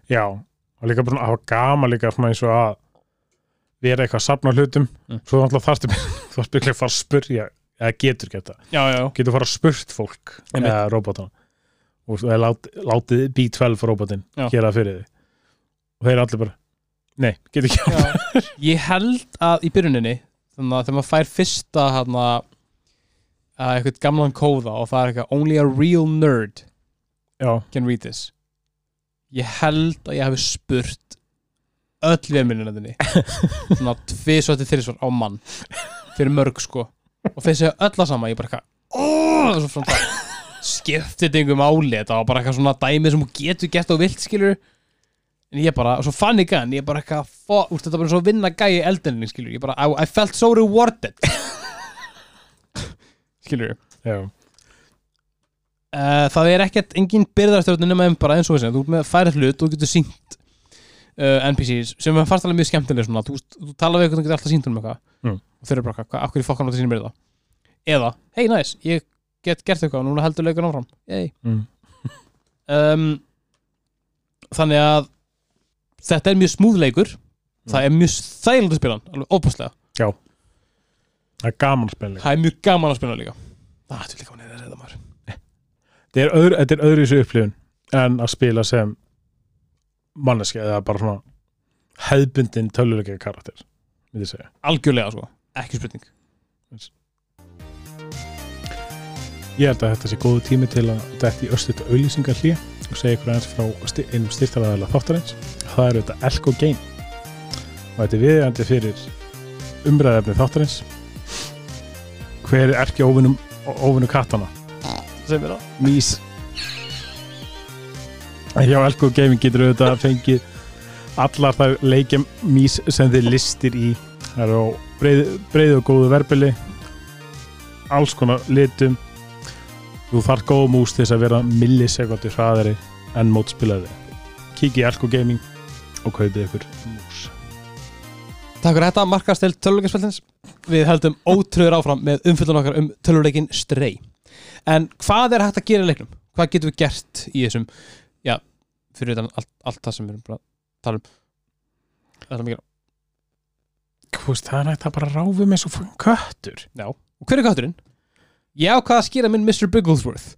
já, og líka bara svona að hafa gama líka svona eins og að vera eitthvað að safna hlutum
Mm.
svo þannig að þarftu þú þarftu ekki að fara að spurja eða getur geta
já, já,
getur fara að spurt fólk
Einmitt.
eða robotana og svo er lát, látið B12 robotinn
Já.
gera það fyrir þig og þeir eru allir bara nei, getur ekki hjálpað."
já. ég held að í byrjuninni þannig að þegar maður fær fyrsta hana, að eitthvað gamlan kóða og það er eitthvað only a real nerd
já,
can read this ég held að ég hafi spurt öll veminina þinni svona tvisvar til þrisvar á mann fyrir mörg sko og þessi öll að sama ég bara eitthvað "Oh", svo svona það skiptið þetta einhver máli þetta var bara eitthvað svona dæmi sem þú getur gett og vilt skilur en ég bara, og svo fann ég gæðan ég bara eitthvað, fó, úr, þetta var bara svo vinna gæi í eldinni skilur, ég bara, I, I felt so rewarded skilur
já,
uh, það er ekkert engin byrðarstjórn nema um bara eins og þessi þú ert með færið hlut og getur sínt uh, NPCs sem er fast alveg mjög skemmtileg svona. þú, þú talar við eitthvað og getur alltaf sínt um eitthvað
Mm.
og þau eru bara hvað, af hverju fokkan á þessi byrða eða, hei næs, ég get gert eitthvað og núna heldur leikur áfram Yay.
mm.
um, þannig að þetta er mjög smúðleikur það er mjög þægilega spilan alveg óbúslega,
það er gaman að spila líka
það er mjög gaman að spila líka það er líka hún er að reyða maður
þetta er, öðru, þetta er öðru í þessu upplifun en að spila sem manneski eða bara svona hefbundin töluleika karakter myndi ég segja
algjörlega sko, ekki spurning
Ég held að þetta sé góðu tími til að dætt í östuðt auðlýsingar hlýja og segja ykkur aðeins frá sti- einum styrtaræðala þáttarins. Það eru þetta Elko Game og þetta er viðjandi fyrir umræðefni þáttarins. Hver er erki óvinum, óvinum kattana?
sem er það
Mís. Hjá Elko Gaming getur auðvitað að fengið allar þær leikja mís sem þið listir í. Það eru á breið, breið og góðu verbili, alls konar litum. Þú þarf góð mús til þess að vera millisekundir hraðari en mótspilaði. Kikið í Elko Gaming og kaupið ykkur mús.
Takk fyrir þetta, markastelt töluleikaspöldins Við heldum ótröður áfram með umfyllan okkar um töluleikin Stray En hvað er hægt að gera í leiknum? Hvað getum við gert í þessum Já, fyrir utan allt, allt það sem við erum bara að tala um Það er mikið
Hvist, það er hægt að bara ráfi með svo fangin köttur.
Já, og hver er kötturinn? Ég ákvað að skýra minn Mr. Bigglesworth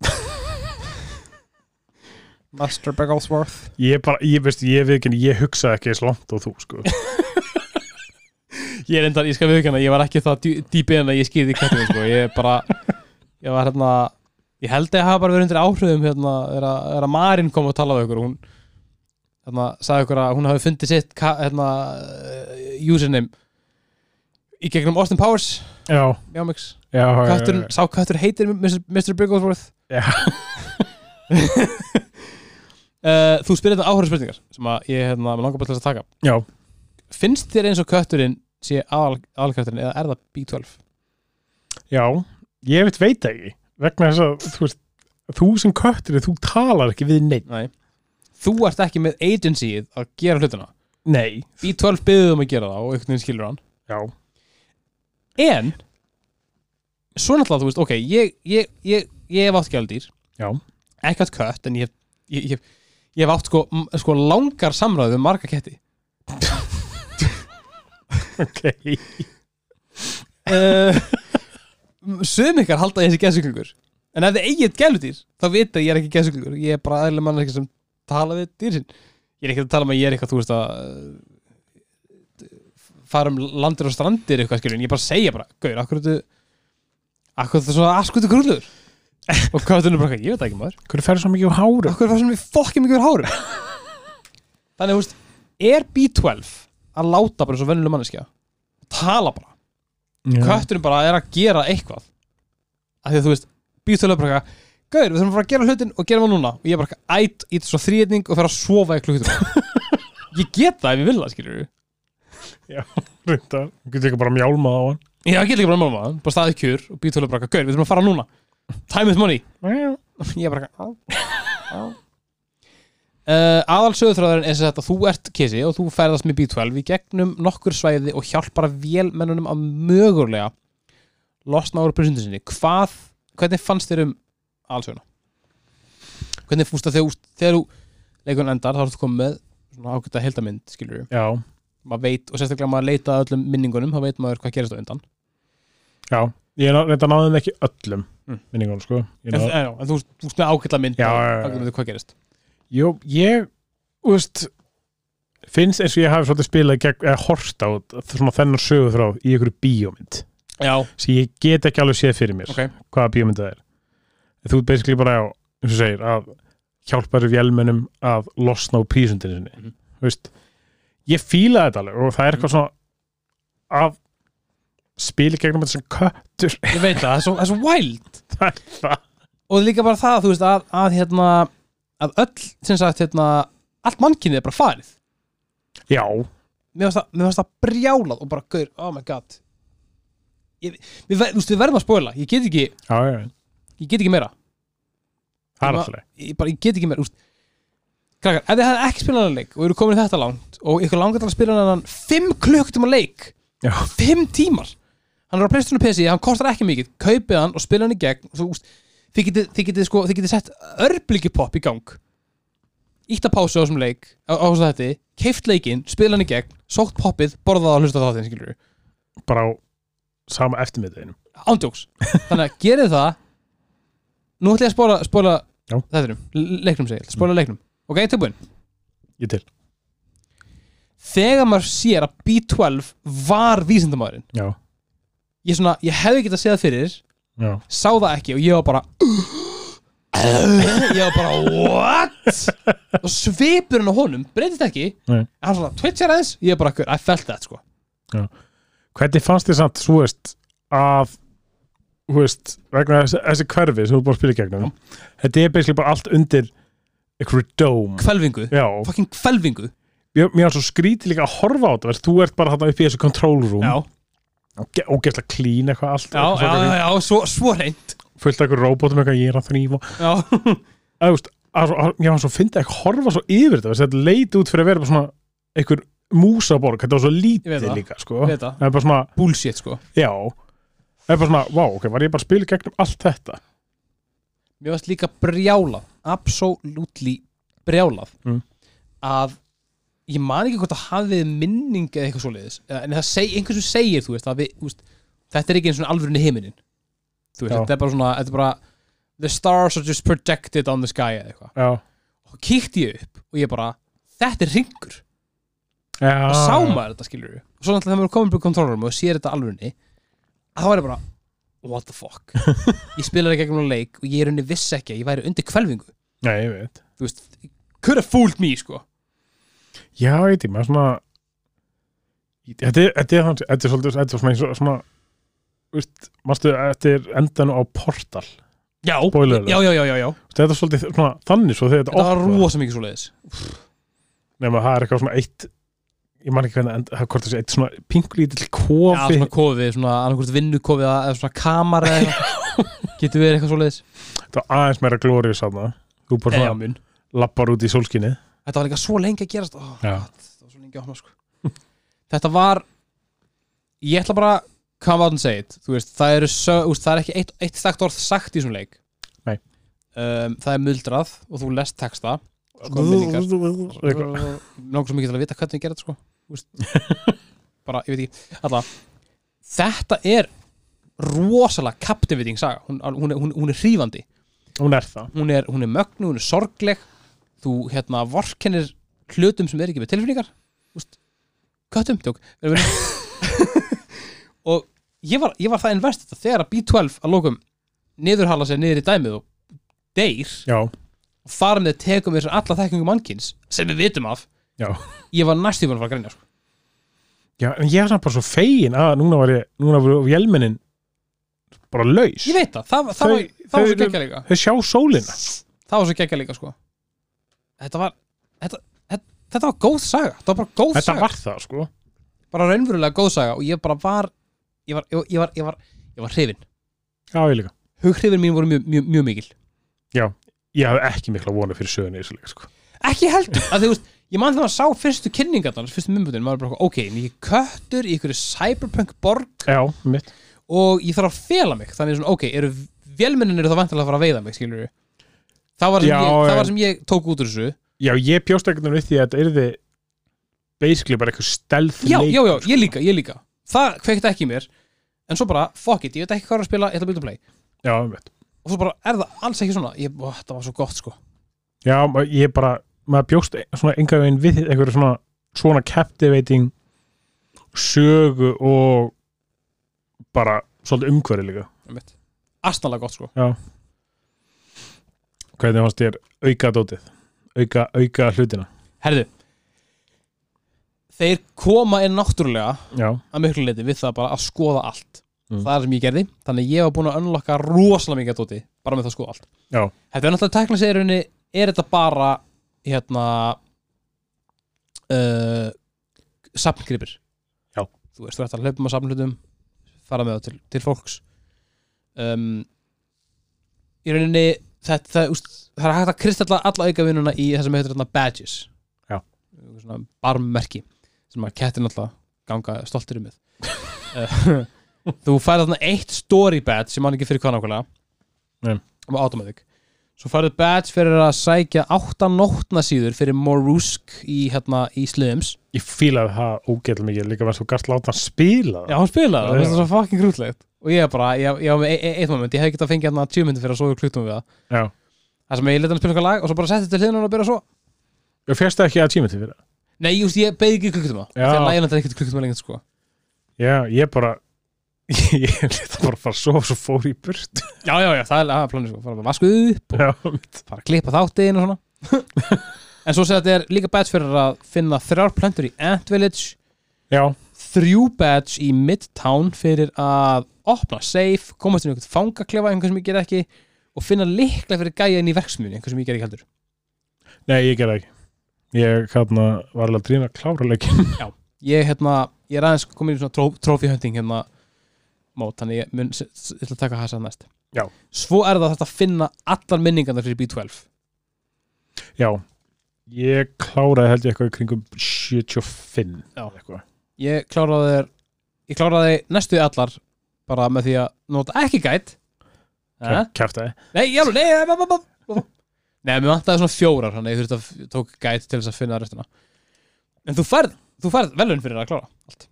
Mr. Bigglesworth
Ég bara, ég veist, ég við ekki, ég hugsaði ekki eins langt og þú, sko.
Ég er enda, ég skal viðkjanna, ég var ekki það dýpi en að ég skýrði kötturinn sko. Ég er bara, ég var hérna Ég held að ég hafa bara verið undir áhrifum hérna, er að, er að Marín kom og talaði við ykkur og hún hérna, sagði ykkur að hún hafi fundið sitt ka- hérna, eh, username í gegnum Austin Powers
Já,
Mjámix,
já, já. já,
kötturinn,
já.
sá köttur heitir Mr. Mr. Bigglesworth
Já.
Uh, þú spyrir þetta áhverju spurningar sem að ég hérna, með langar bara til þess að taka
Já,
finnst þér eins og kötturinn sé aðal- aðalkötturinn eða er það B12?
já, ég veit veit það ekki vegna þess að þú, veist, þú sem köttur þú talar ekki við neitt
Nei Þú ert ekki með agencyið að gera hlutina
Nei,
B12 byggðum um að gera það og einhvern veginn skilur hann
já,
en svo náttúrulega þú veist, ok, ég ég, ég, ég hef átt gældýr
Já.
ekki átt kött, en ég hef- ég, ég, ég hef átt sko, m- sko langar samræðu um marga ketti
ok
uh, sum ykkar halda að ég sé geðsuglingur en ef þið eigið gæludýr þá vita ég er ekki geðsuglingur ég er bara aðlega mann sem tala við dýr sinn ég er ekki að tala um að ég er eitthvað þú veist að uh, fara um landir og strandir eitthvað skilur en ég bara segja bara gauður, akkur þetta akkur þetta svona askutu krúllur og hvað þetta er bara eitthvað, ég veit það ekki maður
Hvernig ferðu svo mikið á hárum?
akkur er það svona við fokkjum ykkur hárum þannig þú veist er B12 að láta bara eins og vennileg manneskja tala bara kötturinn bara er að gera eitthvað af því að þú veist, bíóttölu bara eitthvað Gauður, við þurfum að fara að gera hlutin og gera maður núna og ég er bara eitthvað ætt, ít svo þrýðning og fer að sofa í klukkutum ég get það ef ég vil það, skilur við
Rindar, þú getur ekki bara mjálmað á hann
ég get líka bara málma það, bara staðið kjur og bíóttölu bara eitthvað, gauður, við þurfum að fara núna time is money,
Já,
ég er bara eitthvað "Á, á." Uh, aðal sögurþráðurinn er sem sagt að þú ert kissi og þú ferðast með B12 í gegnum nokkur svæði og hjálpar vélmennunum að mögulega losna úr brusundu sinni hvað, hvernig fannst þér um aðalsöguna? hvernig fúst að þegar, þegar þú leikun endar þá ertu komið með svona ágæta heldamynd skilur við,
já,
maður veit og sérstaklega maður leita að öllum minningunum, þá veit maður hvað gerist á undan
já Ég ná- reyndar náðum ekki öllum
Mm.
minningunum, sko Ég
en,
náði-
en, en þú þú veist með ágæta mynd
Já,
þá-
já, já,
þá
já.
getur við hvað gerist
Jú, ég, þú veist finnst eins og ég hafi svolítið spilað gegn, eða horft á svona þennan sögu frá í einhverju bíómynd
já,
sem ég get ekki alveg séð fyrir mér
ok,
hvaða bíómynd það er En þú ert basically bara á, eins og segir að hjálpar vélmennum að losna úr prísundinu sinni
Mhm.
Þú veist, ég fílaði þetta alveg og það er eitthvað svona að spila gegnum þetta sem köttur
ég veit það, það er svo, það er svo wild
Það er það.
og líka bara það, þú veist, að, að hérna, að öll, sem sagt, hérna allt mannkynið er bara farið
já,
mér varst það, mér varst það brjálað og bara gaur, oh my god ég, við, ver- þú veist, við verðum að spoila ég get ekki,
já, já, já.
ég get ekki meira
það er
Ég ma-
alltaf leið.
ég, bara, ég get ekki meira, þú veist krakkar, ef þið hefði ekki spilað hann leik og eru komin í þetta langt og ykkur langar til að spila hann fimm klukktum að leik
Já.
fimm tímar hann er á Playstation og PC, hann kostar ekki mikið kaupið hann og spila hann í gegn og þú veist, þið getið, þið getið, sko, þið getið sett örblíkipopp í gang ítt að pása á þessum leik á, á þessum þetta, keift leikinn, spila hann í gegn sótt poppið, borðað og hlusta þáttinn skilur
bara á sama eftirmiðdeginum
ándjóks, þannig að gerið það nú ætla ég að spóla, spóla
Já.
þættinum, leiknum segil, spóla leiknum ok, tilbúin
ég til
þegar maður sér að B12 var vísindamæðurinn
já,
ég, svona, ég hefði getað séð það fyrir
já
sá það ekki og ég var bara ég var bara what og svipurinn á honum breytist ekki
Nei.
en hann svona twitchar aðeins ég bara "Gaur, I felt that sko
Hvernig fannst þið samt, þú veist, að þú veist, vegna þessi, þessi hverfi sem þú búið að spila í gegnum þetta er basically bara allt undir einhverju dóm
kvelvingu
Já,
fucking kvelvingu
mér mér var svo skrítið líka að horfa á þetta veist, þú ert bara þarna upp í þessu control room
já
og ge- ógeðslega clean eitthvað allt
já
eitthvað
já
svona
já, já svo, svo reynd
fullt af einhverju róbótum eitthvað ég er að þrýfa
já
að, þú veist, að, að, já, svo fyndi ekki horfa svo yfir þetta veist, þetta leit út fyrir að vera bara svona einhver músaborg, þetta var svo
Ég veit
lítið
það.
líka sko.
Ég
það
veit það
er bara svona,
bullshit sko
já það er bara svona, vá, ok, var ég bara að spila í gegnum allt þetta
mér varst líka brjálað absolutely brjálað
Mm.
að ég man ekki hvort það hafið minning eða eitthvað svoleiðis Eða- en það seg, einhvers sem segir þú veist, að við, þú veist þetta er ekki eins og alvörunni himinin þú veist,
Já.
þetta er bara svona þetta er bara, the stars are just projected on the sky eða eitthvað
já,
og kíkti ég upp og ég bara þetta er ringur
já
og sá maður þetta skilur og svo náttúrulega þegar maður er komin upp í kontrólarum og sér þetta alvörunni að þá er ég bara what the fuck ég spilaði gegnum á leik og ég er unni viss ekki að ég væri undir kvelvingu
já, ég veit,
þú veist, could have fooled me, sko
já, ég veit, maður svona þetta er, þetta er, þannig- þetta er svolítið, þetta er svona eins og svona, þú veist, mástu þetta er endan á portal
Já,
Spoiler alert.
já, já, já, já, já.
þetta er svolítið svona, þannig svo þegar
Þetta
þetta
var
opnar.
rosa mikið svoleiðis
nema það er eitthvað svona eitt ég man ekki hvernig, en það er hvort þessi eitt svona pinkulítill
Já,
kofi
svona kofið, svona annarkvort vinnukofið eða eða svona kamar eða eitthvað Getur verið eitthvað svoleiðis
þetta var aðeins meira glóriðs aðna þú bara
Eða, já,
svona
mun.
lappar út í sólskinni
Þetta var líka svo lengi að gerast oh,
Já.
Þetta var svo lengi að opna, sko Þetta var Ég ætla bara, come out and say it Þú veist, það, eru, sö, úst, það er ekki eitt, eitt stakt orð sagt í þessum leik
Nei.
um, Það er muldrað og þú lest texta Sko, minningar
Eitthvað.
Nókuð svo mikið til að vita hvernig ég gerði þetta sko Þú veist. bara, ég veit ekki Alla, þetta er rosalega captivating saga hún, hún, er- hún, hún er hrífandi
hún er það
hún er, hún er mögnu, hún er sorgleg þú hérna vorkennir hlutum sem er ekki með tilfinningar Úst, köttum, tjók Nei, meina- og ég var, ég var það invest þetta þegar að B12 að lókum niðurhala sér niður í dæmið og deyr
já,
og þar með tekum við alla þekkingum mannkins sem við vitum af
já,
ég var næstum búin að fara að grænja sko.
já en ég er samt bara svo fegin að núna var ég núna var vélmennin bara laus
ég veit það, það, það,
Þau-
var, það var
þau
svo
eru-
geggja líka
þau sjá sólina
það var svo geggja líka sko. þetta var þetta, þetta, þetta var góð saga þetta var bara góð
þetta
saga
var það sko
bara raunverulega góð saga og ég bara var ég var, ég, ég var, ég var, ég var hrifin
já, ég líka
hughrifin mín voru mjög, mjög, mjög mikil
ég hafði ekki mikla vonu fyrir söguna í þessu leik sko.
ekki heldur að því, þú veist, ég man þegar að sá fyrstu kynningarnar fyrstu mymbutin, maður bara ok, en ég er köttur í einhverju cyberpunk borg
já, mitt
og ég þarf að fela mig þannig svona, ok, eru vélmennin eru það vantilega að fara að veiða mig, skilur það var, sem
Já,
ég, það
en-
var sem ég tók út úr þessu
já, ég bjóst ekkert um við því að þetta yrði basically bara eitthvað stealth
já,
leikur,
já, já,
sko.
ég líka, ég líka það kveikti ekki í mér, en svo bara fuck it, ég veit ekki hvað er að spila, ég ætla að byrja að play
já, mitt
og svo bara er það alls ekki svona ég, ó, þetta var svo gott sko
Já, ma- ég bara, maður bjóst e- svona enga veginn við einhverju svona svona captivating sögu og bara svolítið umhverju líka
einmitt. astnalega gott sko
hvernig fannst þér auka dótið auka, auka hlutina
herðu þeir koma inn náttúrulega
já,
að miklu leiti við það bara að skoða allt
Mm.
það er sem ég gerði, þannig að ég var búin að unlocka rosalega mikið að dóti, bara með það að skoða allt
Já.
þetta er náttúrulega tekna sér rauninni er þetta bara hérna uh, sapngripir
Já.
þú veist, þú ætti að hlaupa með sapnhlutum fara með það til, til fólks um, í rauninni þetta, það, úst, það er hægt að kristalla alla aukavinuna í það sem heitir hérna badges
Já.
svona barmmerki sem að kettin alltaf ganga stoltir um með Eh, þú færði þarna eitt story badge sem hann ekki fyrir hvað nákvæmlega
Nei.
og automatic svo færði badge fyrir að sækja átta nótna síður fyrir Morusk í, hérna, í Slims
ég fílaði það ógeðlega mikið líka verðst þú gast láta hann spila það
já, hann spilaði það,
Já.
það er svo fucking grútlegt og ég er bara, ég, ég var með e- e- eitt moment ég hefði getað fengið hérna 20 myndi fyrir að sofa kluttum við það
já,
það sem ég leta hann spila eitthvað lag og svo bara setti til hliðinu og byrja svo
ég férst ekki að tíma til fyrir það
Nei, just, ég beði ekki klukkutíma
Já.
Þegar Læland er ekkert klukkutíma lengt sko
já, ég bara ég leta bara að fara að sofa svo fór ég í burt
Já, já, já, það er að planið sko Fara bara vasku upp og
já,
fara að klippa þáttinn og svona En svo segja þetta er líka badge fyrir að finna þrjár plöntur í Ant Village
já,
Þrjú badge í Midtown fyrir að opna safe Komast inn í einhvern fangaklefa, einhver sem ég ger ekki Og finna líklega fyrir gæja inn í verksmiðunni Einhver sem ég ger ekki heldur
nei, ég gerði ekki ég hérna var alveg að drýna að klára leikin
Ég, hérna, ég er aðeins komin í svona tró, trophy hunting hérna mót Þannig ég mun, s- s- ég ætla að taka það sem næst
Já.
Svo er það þetta að finna allar minningarnar fyrir B12
já, ég kláraði held ég eitthvað í kringum 75
Já.
eitthvað.
ég kláraði þér ég kláraði næstu allar bara með því að nota ekki Eh? gæt Ha?
kæftaði
nei, já, nei ja, bá, bá, bá, bá. nei, mér vantaði svona fjórar þannig ég þurfti að ég tók gæt til þess að finna restina en þú færð, þú færð velun fyrir að klára allt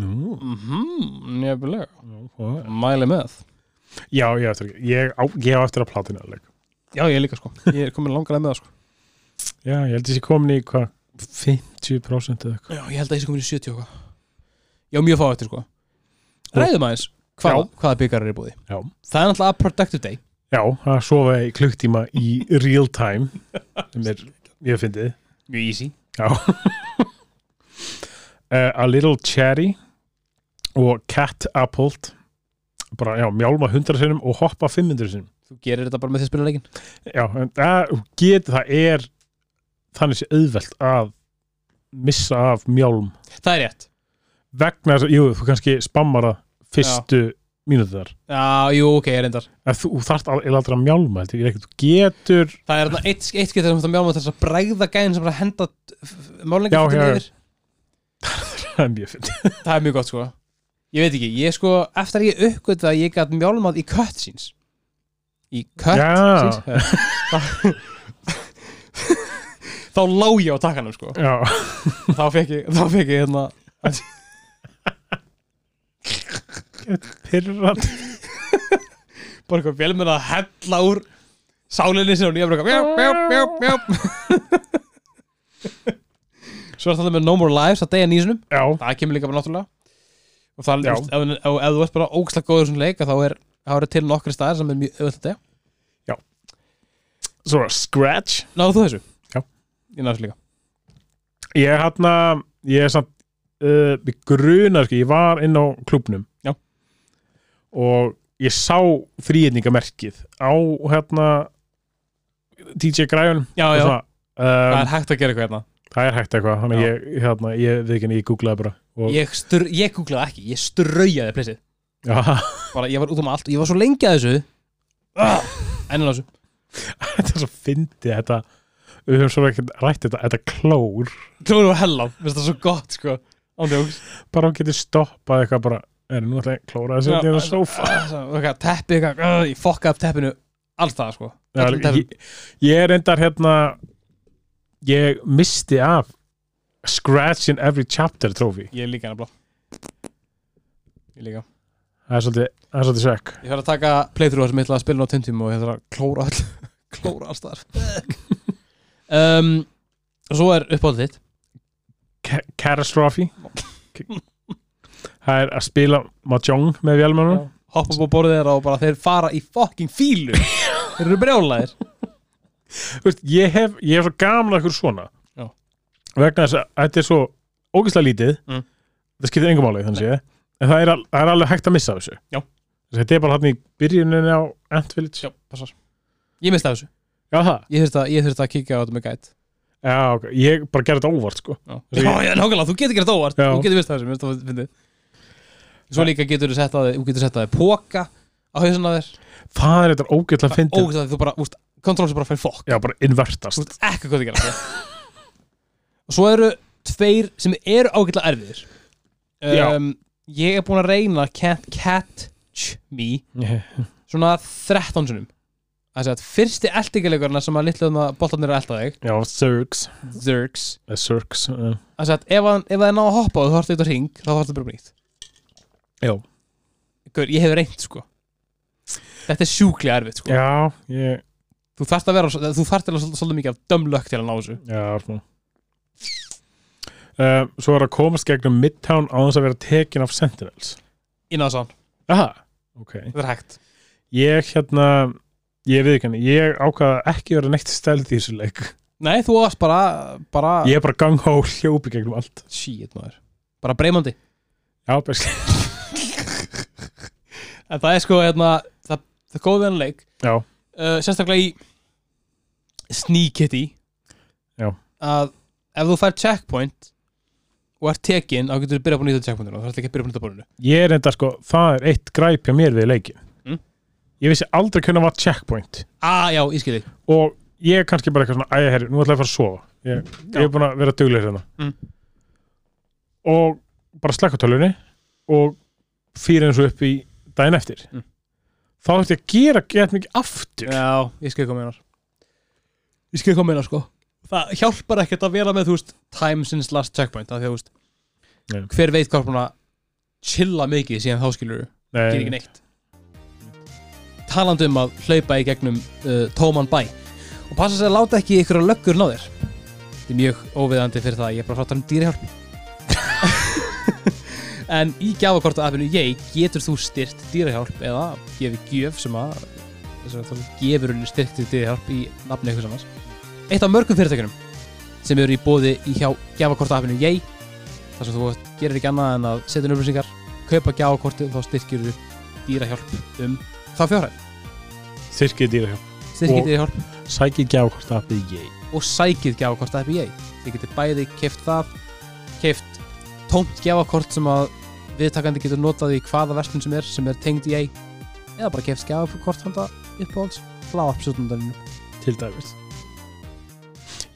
nú,
mhm, nefnilega
nú,
mæli með
já, ég á eftir ekki ég á, ég á eftir að platina leik
já, ég líka sko, ég er komin langarlega með það sko
já, ég held ég sé komin í hvað 50% eða eitthvað
já, ég held að ég sé komin í 70 og eitthvað já, mjög fá eftir sko ræðum aðeins hvað, hvaða byggar er í búði
Já.
það er náttúrulega að productive day
Já, að sofa í klukktíma í real time sem er mjög fyndið
mjög easy
uh, A Little Cherry og Cat Apple bara, já, mjálma 100 sinum og hoppa 500 sinum
þú gerir þetta bara með því að spila leikin
Já, en það, get, það er þannig sé auðvelt að missa af mjálm
það er rétt
vegna þess að, jú, þú kannski spammar það fyrstu mínútu þar
Já, jú, ok, ég reyndar
en þú þarft al- eiginlega aldrei að mjálma heldur, ég er ekkert, þú getur
Það er þarna eitt, eitt getur sem þetta mjálma þess að bregða gæðin sem bara henda
Já,
málengar
já, já.
fyrir yfir
það er mjög fyndið
Það er mjög gott sko Ég veit ekki, ég sko, eftir að ég uppgötu að ég gæt mjálmað í cutscenes Í cutscenes Þá- Þá lá ég á takkanum sko
Já,
Þá fekk ég, þá fekk ég hérna
pyrrand
bara eitthvað velmenn að hella úr sálinni sinni og nýja bara eitthvað mjáp, mjáp, mjáp, mjáp Svo er þetta með No More Lives að deyja nýsunum
Já,
það kemur líka bara náttúrulega og það,
Já.
þú veist, ef, ef, ef þú ert bara ógslag góður sem leik þá er, þá er til nokkri staðar sem er mjög auðvitað
svo Scratch
náðu þú þessu?
Já.
ég náðu þessu líka
Ég hann að ég er samt uh, mig grunar, sko, ég var inn á klubnum
Já.
og ég sá þrýðningamerkið á hérna DJ Græun
já, já,
um,
það
það
er hægt að gera eitthvað hérna
er hægt eitthvað þannig að
Já.
ég, hérna, ég, við ekki, ég googlaði bara og,
ég, str, ég googlaði ekki, ég straujaði plissið
já,
bara, ég var út um allt og ég var svo lengi að þessu Ah, enn á þessu
þetta er svo fyndið þetta við höfum svo ekki rætt þetta, þetta klór
klóður var hella, finnst það svo gott sko ándjóks
bara hún getur stoppað eitthvað bara er nú ætla ég að klóra þessi þetta er svo
Ah, teppi, eitthvað, ah, ég fokkaði upp teppinu alls það sko
Já,
Öllum teppum.
ég, ég er endar hérna ég misti af Scratch in Every Chapter trófi
ég líka nefnilega ég líka
það er svolítið, það er svolítið svekk
Ég þarf að taka playthrough sem ég ætla að spila ná tundum og ég þarf að klóra all klóra alls þar um, og Svo er uppáldið þitt
Ca- Catastrophe það er að spila Mahjong með vélmennum
Mhm. hoppa upp á borðið þeirra og bara þeir fara í fucking fílu Þeir eru brjálæðir
Vist, ég, hef, ég hef svo gamla ykkur svona
Já.
vegna þess að þetta er svo ógeðslega lítið
Mm.
það skiptir engum máli þannig séð en það er, al- það er alveg hægt að missa af þessu
Já.
Þess að þetta er bara hann í byrjuninni á Ant Village
Já, passar Ég misti af þessu
Já, það.
Ég þurfti að, ég þurfti að kíkja á þetta með gæt
Já, ok. ég bara gerði þetta óvart sko
Já,
Þessi-
já, já nákvæmlega, þú getur gert óvart
Já.
Þú getur mistað þessu, mér finnst það fyndið Svo líka getur þú sett að þið, þú getur sett að þið póka á hausin að þér
Það er þetta ógeðlega fyndið
og þú bara, úst, kontról sem bara fyrir fokk
Já, bara
Þú
invertast
veist ekki hvað þið gera sko. Og svo eru tveir sem eru ágætlega erfiðir um, Ég er búin að reyna Can't Catch Me Svona 13 sunum Það sé að fyrsti eltingalegurna sem að litlu um að boltarnir eru að elta þig
Já, Zergs
Zergs
Zergs uh,
Það sé að ef, hann, ef það er náð að hoppa og þú horfst út á ring þá horfst það bara upp á nýtt
Já.
Gaur, ég hef reynt sko Þetta er sjúklega erfið sko
Já, ég
þú þarft að vera, þú þarft að vera svolítið, svolítið mikið af dömlökk til að ná þessu
Já, smá uh, Svo er að komast gegnum Midtown á þess að vera tekin af Sentinels
inn á þessan,
Aha, ok
þetta er hægt
Ég hérna, ég við ekki hann Ég ákvaða ekki vera neitt stældi í þessu leik
nei, þú varst bara, bara
Ég er bara ganghá hljópi gegnum allt
shit maður, bara breymandi
Já, beski
en það er sko, hérna, það, það er góð við hann leik
Já,
uh, sérstaklega í Sneak Kitty
Já.
að ef þú fær checkpoint og ert tekin, þá getur þú byrjað upp á nýta checkpointinu og það er ekki að byrja upp á nýta borinu
ég er enda sko Það er eitt græp hjá mér við leikin
Mm.
Ég vissi aldrei hvernig var checkpoint
ah, já, ég skil þig
Og ég er kannski bara eitthvað svona Æja, herri, nú ætla ég að fara að sofa Ég, ég
Já.
er búin að vera duglegur hérna
Mm.
Og bara slekka á tölunni Og fyrir eins og upp í daginn eftir
Mm.
Þá ætti ég að gera gett mikið aftur
Já, ég skil hvað meinar Ég skil hvað meinar sko Það hjálpar ekkert að vera með, þú veist time since last checkpoint, af því að þú veist
Nei.
hver veit hvað er búin að chilla mikið síðan þá skilur þú, gerir ekki
Nei,
neitt Talandi um að hlaupa í gegnum uh, tóman bæ og passa sér að láta ekki ykkur að löggur ná þér Þetta er mjög óviðandi fyrir það ég er bara að frátta um dýrihjálp En í gjafakorta appinu ég getur þú styrt dýrahjálp eða gefið gjöf sem að þess að þú gefur henni styrkt til dýrahjálp í nafni eitthvað annars Eitt af mörgum fyrirtækjunum sem eru í bóði í hjá gjafakorta appinu ég þar sem þú gerir ekki annað en að setja inn upplýsingar kaupa gjafakortið og þá styrkir þú dýrahjálp um þá fjárhæð
styrkið dýra hjá
styrkir
Og-
dýrahjálp
Sækið gjá hvort appið ég
og sækið gjafakort að FBA þið getur bæði keft það keft tómt gjafakort sem að viðtakandi getur notað í hvaða verslun sem er sem er tengd í EI eða bara keft gjafakort handa uppáhalds hlá absúrundarinn
Til dæmis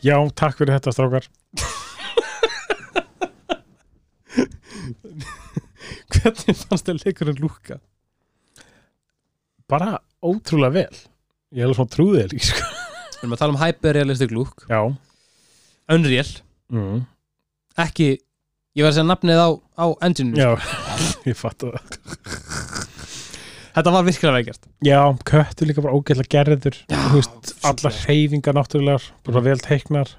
Já, takk fyrir þetta strákar
hvernig fannst þér leikurinn lúka?
Bara ótrúlega vel Ég hefði svona trúðið þér ekki sko
við erum að tala um hyperrealistic lúk
Já
Unreal,
mm.
ekki ég var að segja nafnið á, á engine
Já, ég fatt það
þetta var virkilega veikert
Já, köttur líka bara ógætla gerður
Já,
Þú veist, allar hreyfingar náttúrulegar bara vel teiknar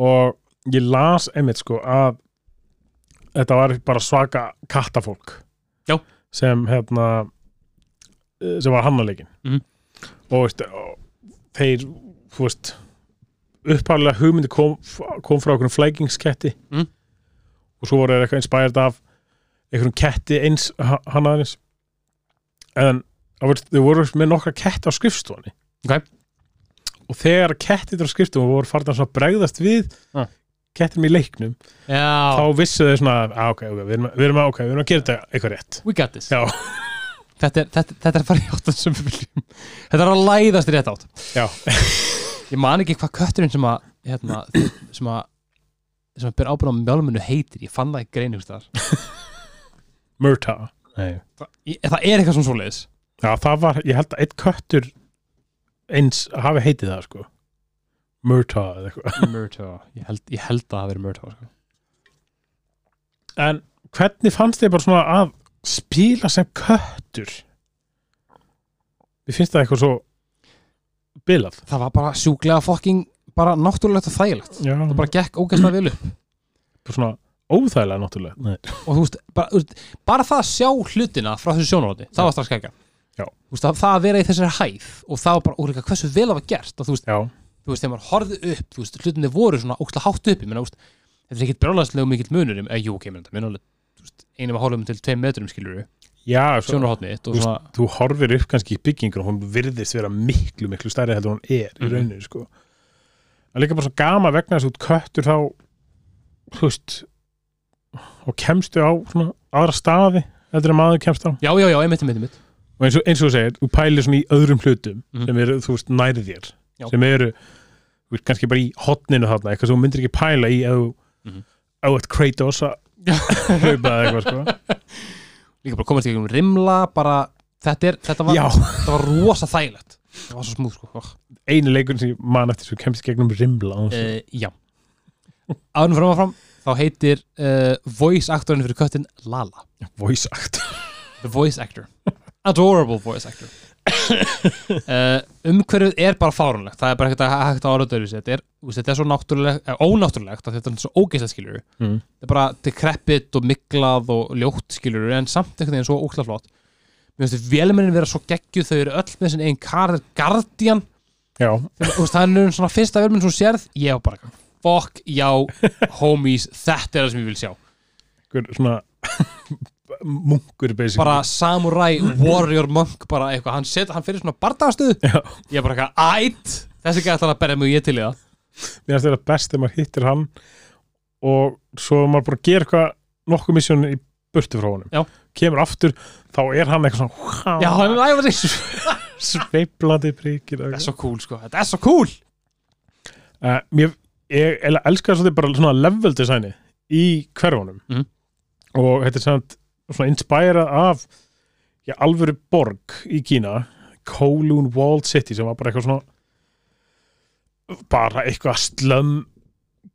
og ég las einmitt sko að þetta var bara svaka kattafólk
Já.
sem hérna eh, sem var hannalekin
Mhm.
og veist og þeir, þú veist upphæðlega hugmyndi kom, kom frá einhvern flækingsketti
Mhm.
og svo voru þeir eitthvað inspired af einhvern ketti eins hannaðins en það voru- þau voru með nokkra ketti á skrifstofunni og þegar kettir á skriftum voru farnar svona að bregðast við
Ah.
kettum í leiknum
já,
þá vissu þau svona að ah, ok, ok, við erum, að- við erum, að- ok, við erum að gera þetta eitthvað rétt
we got this
Já.
þetta er, þetta, þetta er að fara í áttan sem við viljum þetta er að læðast rétt átt
Já,
Ég man ekki hvað kötturinn sem að hérna, sem að sem að byrja ábyrða á mjálmunu heitir ég fann það í greinu þar
Murta Nei.
það er eitthvað svona svoleiðis
Já, það var, ég held að einn köttur eins hafi heitið það sko Murta eða eitthvað
Murtaugh, ég held, ég held að það hafi verið Murtaugh sko.
En hvernig fannst þið bara svona að spila sem köttur? Við finnst það eitthvað svo bilað
það var bara sjúklega fucking bara náttúrulegt og þægilegt
Já,
það
bara
bara gekk ógæslega vel upp
svona óþægilega náttúrulega Nei.
og þú veist, bara, þú veist, bara það að sjá hlutina frá þessu sjónarhóti, það var strax kækja
Já.
veist, það, það að vera í þessari hæð og það var bara, og líka hversu vel það var gert og þú veist,
Já,
þú veist, þegar maður horfði upp þú veist, hlutinni voru svona óksla hátt upp ég meina, þú veist, þetta er ekkit brjólaðslega mikill munur eða jú, kemur þetta, munur alveg þú veist, einum að hálfum til tveim metrum skilur við
já sko. svo,
sjónarhóttni þitt og
Þú
svona,
þú horfir upp kannski í byggingur og hún virðist vera miklu, miklu stærri heldur en hún er
Mhm.
í rauninu, sko það er líka bara svo gama vegna þess að þú ert köttur þá þú veist og kemstu á svona aðra staði heldur en maður kemst á
já, já, já, einmitt, einmitt, einmitt
og eins og, eins og þú segir, þú pælir svona í öðrum hlutum
Mhm.
sem eru, þú veist, nærið þér
Já.
sem eru, þú veist, kannski bara í hotninu þarna, eitthvað sem þú myndir ekki pæla í ef þú,
Mhm.
ef þú ert Kratos að
Já.
hlaupa eða eitthvað, sko
líka bara komast í gegnum rimla, bara þetta er, þetta var,
Já,
þetta var rosa þægilegt það var svo smúð, sko uh,
einu leikur sem ég man eftir sem kemst í gegnum rimla án þess að-
Eh, já ánum fram að fram, þá heitir uh, voice actorinn fyrir köttin Lala
voice actor
the voice actor, adorable voice actor uh, umhverfið er bara fárunlegt það er bara ekkert að hægt að orða dörfis þetta er, þú veist, þetta er svo náttúrulegt, eh, ónáttúrulegt af því að þetta er svo ógeislega skilur
Mm.
þetta er bara dekreppið og miklað og ljótt skilur en samt einhvern veginn svo ókla flott mér finnst þið vélmennin vera svo geggjuð þau eru öll með þessin einn karir Guardian
Já,
Þeim, þú veist, það er nú svona fyrsta vélmenn sem þú sérð ég var bara, fuck, já, homies þetta er það sem ég vil sjá
einhver svona munkur basically
bara samurai warrior monk bara eitthvað, hann, set, hann fyrir svona bardagastöð
Já.
ég bara eitthvað, ætt þessi gæði alltaf að berja mjög ég til í það
Mér finnst þetta best þegar maður hittir hann og svo er maður bara að gera eitthvað nokkuð misjón í burtu frá honum
Já.
kemur aftur, þá er hann eitthvað svona
já, hann er æfa sig
sveiblandi prikir
þetta er svo cool sko, þetta er svo cool
uh, mér, ég eiginlega elska svolítið bara svona level designi í hverfunum
Mhm.
og þetta er samt svona inspirað af já, alvöru borg í Kína Kowloon Walled City sem var bara eitthvað svona bara eitthvað slum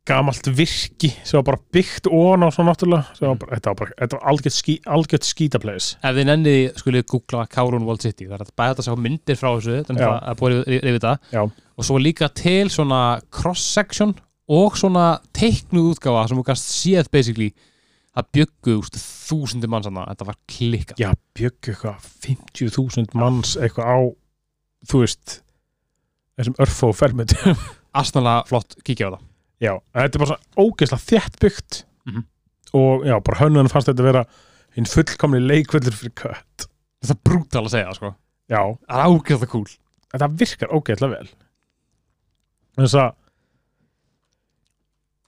gamalt virki sem var bara byggt ofan á svona náttúrulega sem var bara, þetta var bara, þetta var algjört, skí, algjört skítapleis
ef þið nennið skuluð googla Kárún Wall City það er hægt bæði hægt að sjá myndir frá þessu þannig
Já.
að það er búið yfir- yfir þetta
Já.
og svo líka til svona cross-section og svona teiknuð útgáfa sem þú kannst séð basically að bjöggu úst, þúsundir mann sann þetta var klikkað
já, bjögg eitthvað 50.000 manns eitthvað á þú veist þessum örfó fermut
astanlega flott kíkja á það
Já, en þetta er bara svona ógeðslega þétt byggt
Mhm.
og já, bara hönnun fannst þetta að vera hinn fullkomni leikvöldur fyrir kött
þetta er brútal að segja sko
Já,
það er ágæðlega cool
en það virkar ógeðslega vel þess að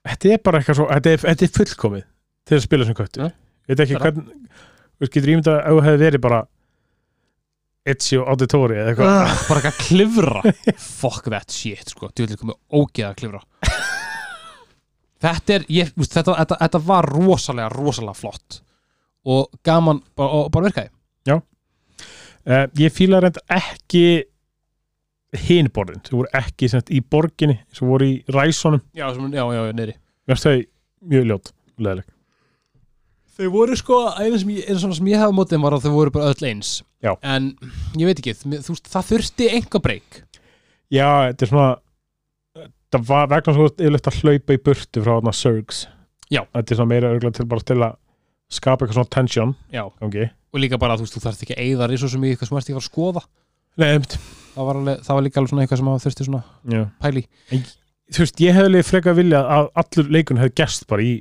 þetta er bara eitthvað svo þetta er, þetta er fullkomið til að spila sem köttur
Ja.
Ég veit ekki
Bara-
hvern þú veist, getur ímyndað að ef það hefði verið bara Ezio Auditori eða eitthvað
Ugh, bara ekki að klifra fuck that shit sko, þú vil komið ógeða að klifra þetta er ég, úst, þetta, þetta, þetta var rosalega rosalega flott og gaman bara, og bara virkaði
Uh, ég fíla reynd ekki hinborðin, sem voru ekki sem sagt, í borginni, sem voru í ræsunum
já, sem, já, já, já, neyri
mér stæði mjög ljót og leðileg
þau voru sko, eina sem ég, eina svona sem ég hefði mótið var að þau voru bara öll eins
Já.
en ég veit ekki, þú veist, það þurfti enga breyk
já, þetta er svona það var vegna svo yfirleitt að hlaupa í burtu frá þarna Sörgs
Já.
þetta er svona meira örgulega til bara til að skapa eitthvað svona tension
já,
okay.
og líka bara, þú veist, þú þarft ekki að eyða risosum í eitthvað sem varst ekki að fara að skoða
Nei, einmitt.
það var, alveg, það var líka alveg svona eitthvað sem maður þurfti svona
Já.
pæli í.
þú veist, ég hefði líka frekar viljað að allur leikun hefði gerst bara í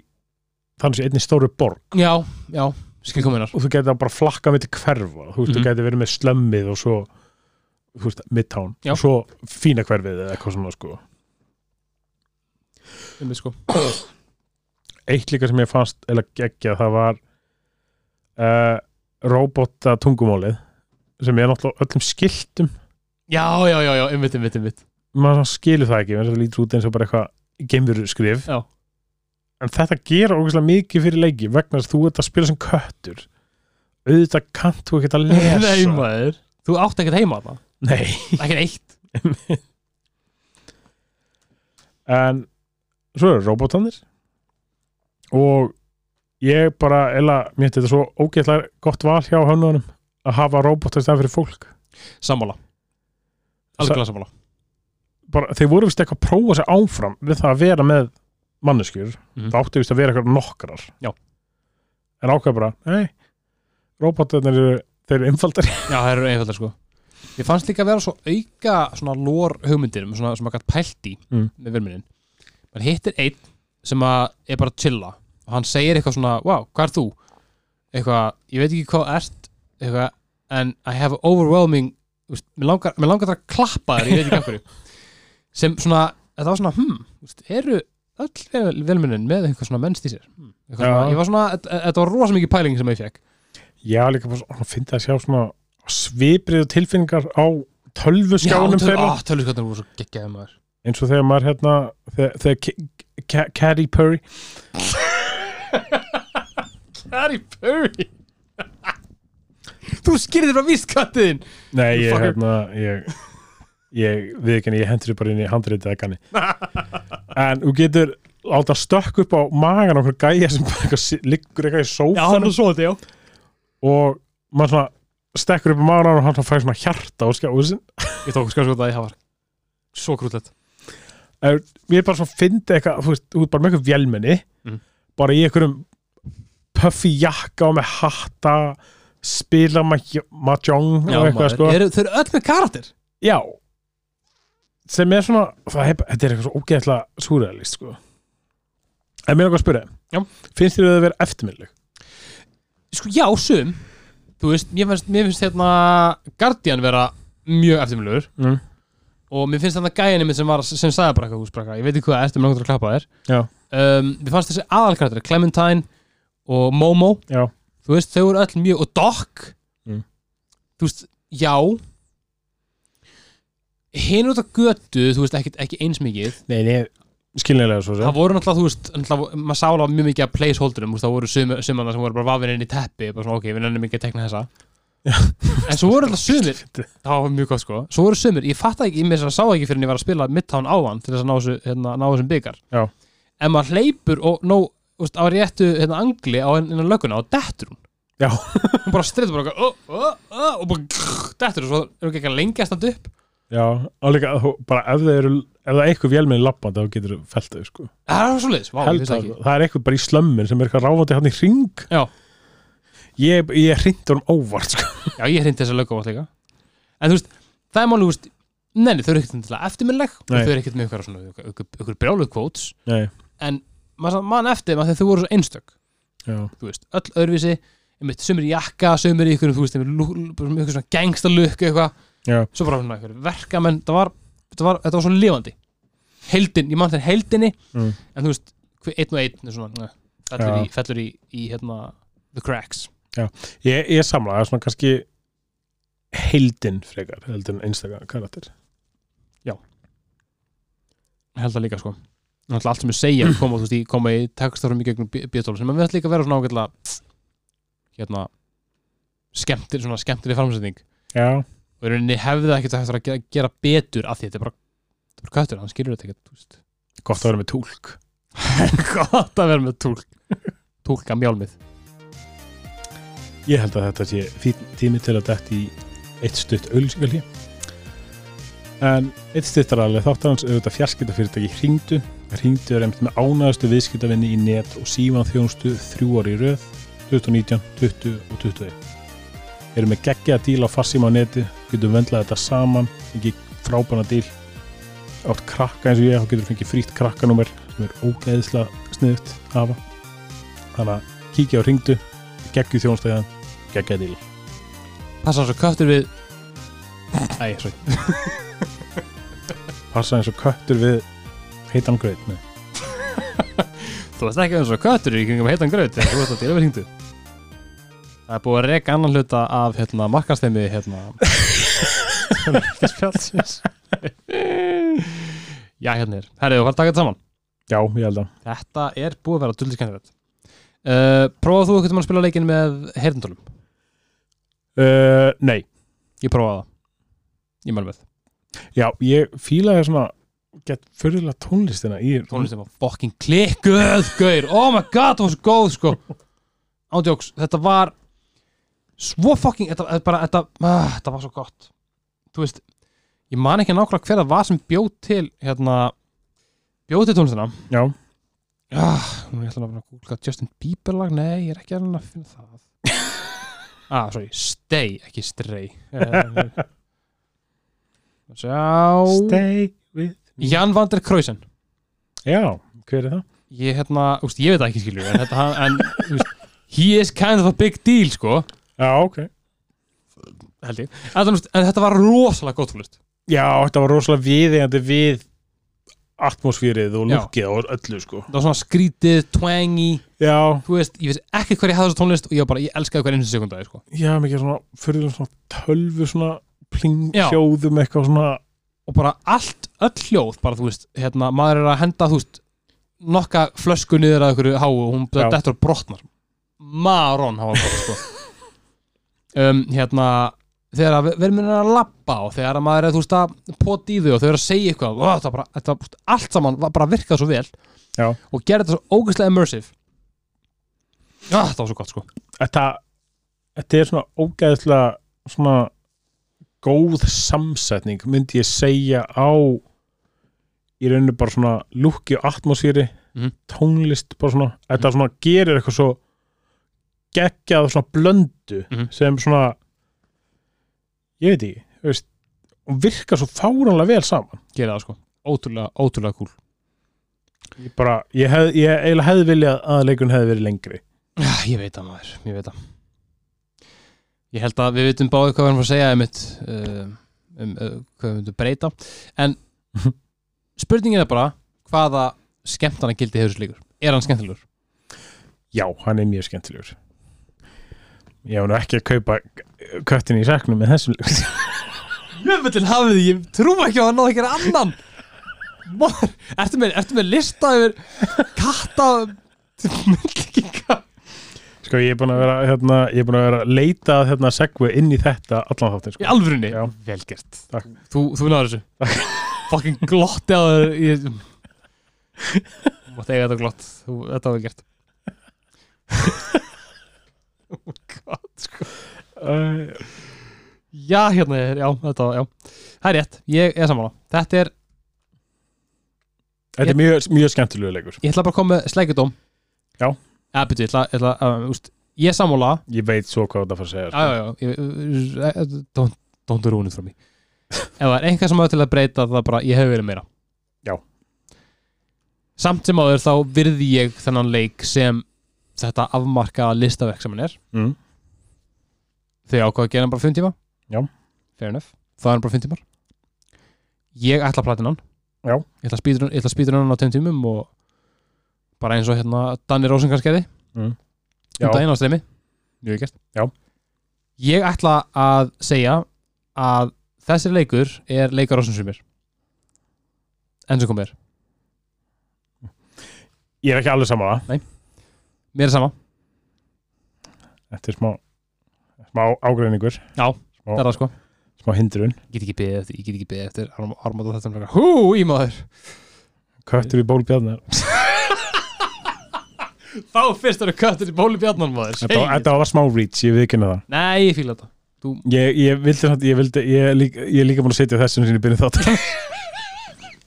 þannig sem einni stóru borg
já, já, skilkominnar
og þú gæti að bara flakka mitt hverfa þú veist, þú
Mhm.
gæti verið með slömmið og svo þú veist, midtown
Já.
og svo fína hverfið eða eitthvað svona sko
sko.
eitt líka sem ég fannst eða geggja það var uh, robota tungumálið sem er náttúrulega á öllum skiltum
Já, já, já, já, einmitt, einmitt, einmitt
maður svona skilur það ekki, maður lítur út eins og bara eitthvað geimveru skrif
Já.
en þetta gera ógeðslega mikið fyrir leiki vegna þess að þú ert að spila sem köttur auðvitað kannt þú ekkert að lesa
Nei, maður Þú átt ekkert heima það,
Nei.
ekkert eitt
en svo eru robotanir og ég bara eila, mér finnst þetta svo ógeðlega gott val hjá hönnunum að hafa robota í stað fyrir fólk
Sammála Algjörlega sammála
bara, þeir voru vist eitthvað að prófa sig áfram við það að vera með manneskjur
Mhm.
það átti vist að vera eitthvað nokkrar
Já.
en ákveð bara, nei robotanir eru, þeir eru einfaldari
Já, það eru einfaldar sko Ég fannst líka að vera svo auka svona lór hugmyndirum svona, sem maður gætt pælt í
Mm.
með verminin Man hittir einn sem að er bara að chilla og hann segir eitthvað svona, wow, hvað er þú? Eitthvað, ég veit ekki hvað ert eitthvað, en I have overwhelming þú veist, mér langar, mér langar það að klappa þér, ég veit ekki af hverju sem svona, þetta var svona, hmm þú veist, eru öll vel, velminin með eitthvað svona mennst í sér hmm. Eitthvað
Já.
svona, ég var svona, þetta þetta var rosa mikið pæling sem ég fekk
já, líka bara, svona, finnst það að sjá svona svipriðu tilfinningar á tölvuskjánum
töl,
þeirra
á, Ah. tölvuskjánum voru svo geggjaði maður
eins og þegar maður hérna þegar, þegar Ki- Ki- Katy Perry
Harry Perry Þú skýrðir frá vískattiðin
Nei, ég,
Fucker.
hérna, ég, ég við ekki, ég hendur bara inn í handritið að kanni en þú getur láta stökk upp á magan á okkur gæja sem bara eitthvað, si- liggur eitthvað í
Já, hann
sófanum
er svo þetta, já
og maður svona stekkur upp á maður á honum og hann svona fær svona hjarta og skjáðu sin
Ég tók skjáðsjóð að það var svo krúllett
ég er bara svona fyndi eitthvað, þú veist, þú er bara með eitthvað vélmenni
Mhm.
bara í einhverjum puffy jakka og með hatta spila maj- mahjong og eitthvað sko
er, Þau eru öll með karakter
já sem er svona, það hef, þetta er eitthvað svo ógeðslega súræðalist sko en mér er eitthvað að spyrja
Já.
finnst þér að það vera eftirminnileg?
Sko, já, sum Þú veist, mér finnst, mér finnst hérna Guardian vera mjög eftirmjölugur
Mm.
og mér finnst þarna gæðinni minn sem, var, sem sagði bara eitthvað húsbrakka, ég veit ekki hvað það er, mér langar til að klappa þér
Já.
um, Við fannst þessi aðalkarakter, Clementine og Momo
já,
Þú veist, þau eru öll mjög, og Doc
Mm.
Þú veist, já Hinn út af götu, þú veist, ekki, ekki eins mikið
nei, nei skilnilega svo sem
það voru náttúrulega, þú veist, náttúrulega, maður sála mjög mikið af placeholderum, þú veist, það voru sumir, sumana sem voru bara vafin inn í teppi, bara svona, ok, við nennum ekki að tekna þessa en svo voru alltaf sumir það var mjög gott, sko, svo voru sumir ég fatt ekki, ég með þess að sá ekki fyrir en ég var að spila Midtown áðan til þess að ná, þessu, hérna, ná þessum byggar
Já.
en maður hleypur og nó, þú veist, á réttu hérna, angli á hennan lögguna og dettur hún
Já.
hún bara streytur bara ó, ó, ó, og bara grrr, dettur og svo er hún ekki að lengja standa upp
já, og líka þú- bara ef það eru ef það er eitthvað vélmenni lappandi þá getur þú felt þau sko
það er svo leiðis, vá, ég
Held
veist
það,
það ekki
sko. það er eitthvað bara í slömmin sem er eitthvað ráfandi hann í ring
Já.
ég, ég hrindi honum óvart sko.
Já, ég hrindi þessa löggóð líka En þú veist, það er máli, þú veist Neini, þau eru ekkert endilega eftirminnileg og
Nei.
Þau eru ekkert með ykkur, svona, ykkur, ykkur brjáluð kvóts
Nei,
En maður samt man eftir þeim af því að þau voru svo einstök
já,
Þú veist, öll öðruvísi einmitt, Sumir í jakka, sumir í ykkur Þú veist, einmitt, lú- bara með ykkur svona gangsta lukku eitthvað
já,
Svo bara svona ykkur verka menn það var, þetta, var, þetta var svo lifandi Heldin, ég man þeir heldinni
Mm.
En þú veist, hver- einn og einn er svona, eh, fellur,
Já.
í, fellur í, í hérna, The cracks
ég, ég samla það er svona kannski heildin frekar, heldin einstaka karakter
Ég held það líka sko Náttúrulega allt sem ég segja koma, þú veist, í, koma í textarum í gegnum bíotólu sem við ætlum líka að vera svona ágætlega hérna skemmtir, svona skemmtir í framsetning
já,
og í rauninni hefði það ekkert eftir að gera, gera betur af því þetta er bara, þetta er bara köttur, hann skilur þetta ekkert þú veist.
gott að vera með túlk
gott að vera með túlk túlka mjálmið
ég held að þetta sé fínn tími til að dætt í eitt stutt auðlýsingalí en eitt stuttaralið þáttarans auðvitað fjarskiptafyrirtæki hringdu hringdu er einmitt með ánæðustu viðskiptavinni í net og síman þjónustu þrjú ári í röð 2019, 20 og 21 erum með geggja að díla á farsíma á neti getum vendlað þetta saman fengið frábæna díl átt krakka eins og ég, þá getur fengið frítt krakkanúmer sem er ógeðislega sniðut hafa þannig að kíkja á hringdu geggju þjónustæðan geggja díl
passa svo köttur við Æ, svo
passa eins og köttur við heitan greit nei.
Þú veist ekki eins og köttur í kringum heitan gröð þegar þú veist að dýra verðingdu Það er búið að reka annan hluta af hérna, markastemi hérna spjálsins Já, hérna er Herrið, þú fælt taka þetta saman
já, ég held að
Þetta er búið að vera dullir skemmtilegt uh, Prófaðu þú eitthvað að spila leikinn með heyrndólum?
uh, nei,
Ég prófaði það Ég mælu með
já, ég fílaði svona gett fyrirlega tónlistina í
Tónlistin var fucking klikkuð, gaur Oh my god, það var svo góð, sko Ándjóks, þetta var Svo fucking, þetta, þetta bara þetta, uh, þetta var svo gott Þú veist, ég man ekki nákvæmlega hver það var sem bjóð til hérna, bjóð til tónlistina
já,
ah, Nú er ég ætla að bara að googla Justin Bieber lag, nei, ég er ekki að reyna að finna það Ah, sorry, stay, ekki stray Eh, Sjá
stay with me
Jan van der Kreusen
já, hver er það?
ég, hérna, úst, ég veit það ekki skilur en, þetta, hann- en úst, he is kind of a big deal sko,
já, ok
held ég en, úst, en þetta var rosalega gótt fólust
já, þetta var rosalega viðeigandi við atmosfýrið og
Já.
lukkið og öllu sko
það var svona skrítið, twangy
já,
þú veist, ég veist ekki hvað ég hafði þessu tónlist og ég var bara, ég elskaði hver einu sekundu sko.
já, mikið svona fyrirlega svona tölvu svona pling
Já.
hljóðum eitthvað svona
og bara allt, öll hljóð bara, þú veist, hérna, maður er að henda þú veist, nokka flösku niður að ykkur háu og hún
Já.
dettur og brotnar marón hafa gott sko. um, hérna þegar að verður minna að labba og þegar að maður er þú veist að pota í þau og þau eru að segja eitthvað og það bara, þetta, þú veist, allt saman var bara virkað svo vel
Já.
og gerði þetta svo ógeðslega immersive ah, það var svo gott sko
þetta, þetta er svona ógæðislega svona góð samsetning myndi ég segja á í rauninu bara svona lúki og atmosfíri
Mhm.
tónlist bara svona, þetta svona gerir eitthvað svo geggjað svona blöndu
Mhm.
sem svona ég veit ekki þú veist, og virka svo fáránlega vel saman
gera það sko, ótrúlega, ótrúlega cool
ég bara, ég, hef, ég eiginlega hefði viljað að leikun hefði verið lengri
Já, ég veit það maður, ég veit það Ég held að við vitum báði hvað við erum að segja um, um, um uh, hvað við myndum breyta en spurningin er bara hvaða skemmtana gildi hefur þessu líkur Er hann skemmtilegur?
já, hann er mjög skemmtilegur ég var nú ekki að kaupa köttin í saknum með þessum leik
Jöfullin hafið, ég trú ekki að hann náði ekki að annan Mór, ertu með, ertu með lista yfir katta myndlíkinga
Sko ég er búin að vera, hérna, ég er búin að vera að leita að hérna, segvi inn í þetta allan þáttin
Í
sko.
alvörunni?
Já.
Vel gert
Takk.
Þú, þú náður þessu Fucking glotti á þér ég... Mátt eiga þetta glott þú, Þetta var vel gert oh God, sko.
uh,
Já, hérna er, já, þetta var, já Það er rétt, ég er sammála Þetta er,
Þetta er mjög, mjög skemmtilegu leikur
ég ætla bara að koma með slækjudóm
Já.
Ja, byrju, ég ætla, ég ætla, um, úst, ég er sammála
Ég veit svo hvað þetta fara að segja sko.
Já, já, já, ég- eh, don't, don't ruin it for me Ef það er einhver sem á til að breyta það bara, ég hef verið meira
Já.
Samt sem áður þá virði ég þennan leik sem þetta afmarkaða listaverk sem hann er
mm.
Þau ákvaða að gera hann bara 5 tíma
Já.
Fair enough, það er hann bara 5 tímar Ég ætla að platina hann
Já.
Ég ætla að spýta ég ætla að spýta hann á 2 tímum og bara eins og hérna Danni Rósengars gerði um
já,
daginn á streymi mjög gert
Já.
ég ætla að segja að þessi leikur er leikar ásins sem er enn sem kom er,
Ég er ekki alveg saman það
mér er sama
Þetta er smá, smá ágreiningur
Já,
smá,
það er það sko,
smá hindrun
ég get ekki beðið eftir ég get ekki beðið eftir armáta þetta um leikar hú, í maður
Köttur í bólbjarnar
þá fyrst eru köttur í bóli bjarnan maður
þetta, var- þetta var smá reach, ég viðkynna það
nei, ég fíla þetta
Ég, ég vildi samt, ég vildi Ég, er líka- ég er líka búin að setja þessum sinni byrjun þátt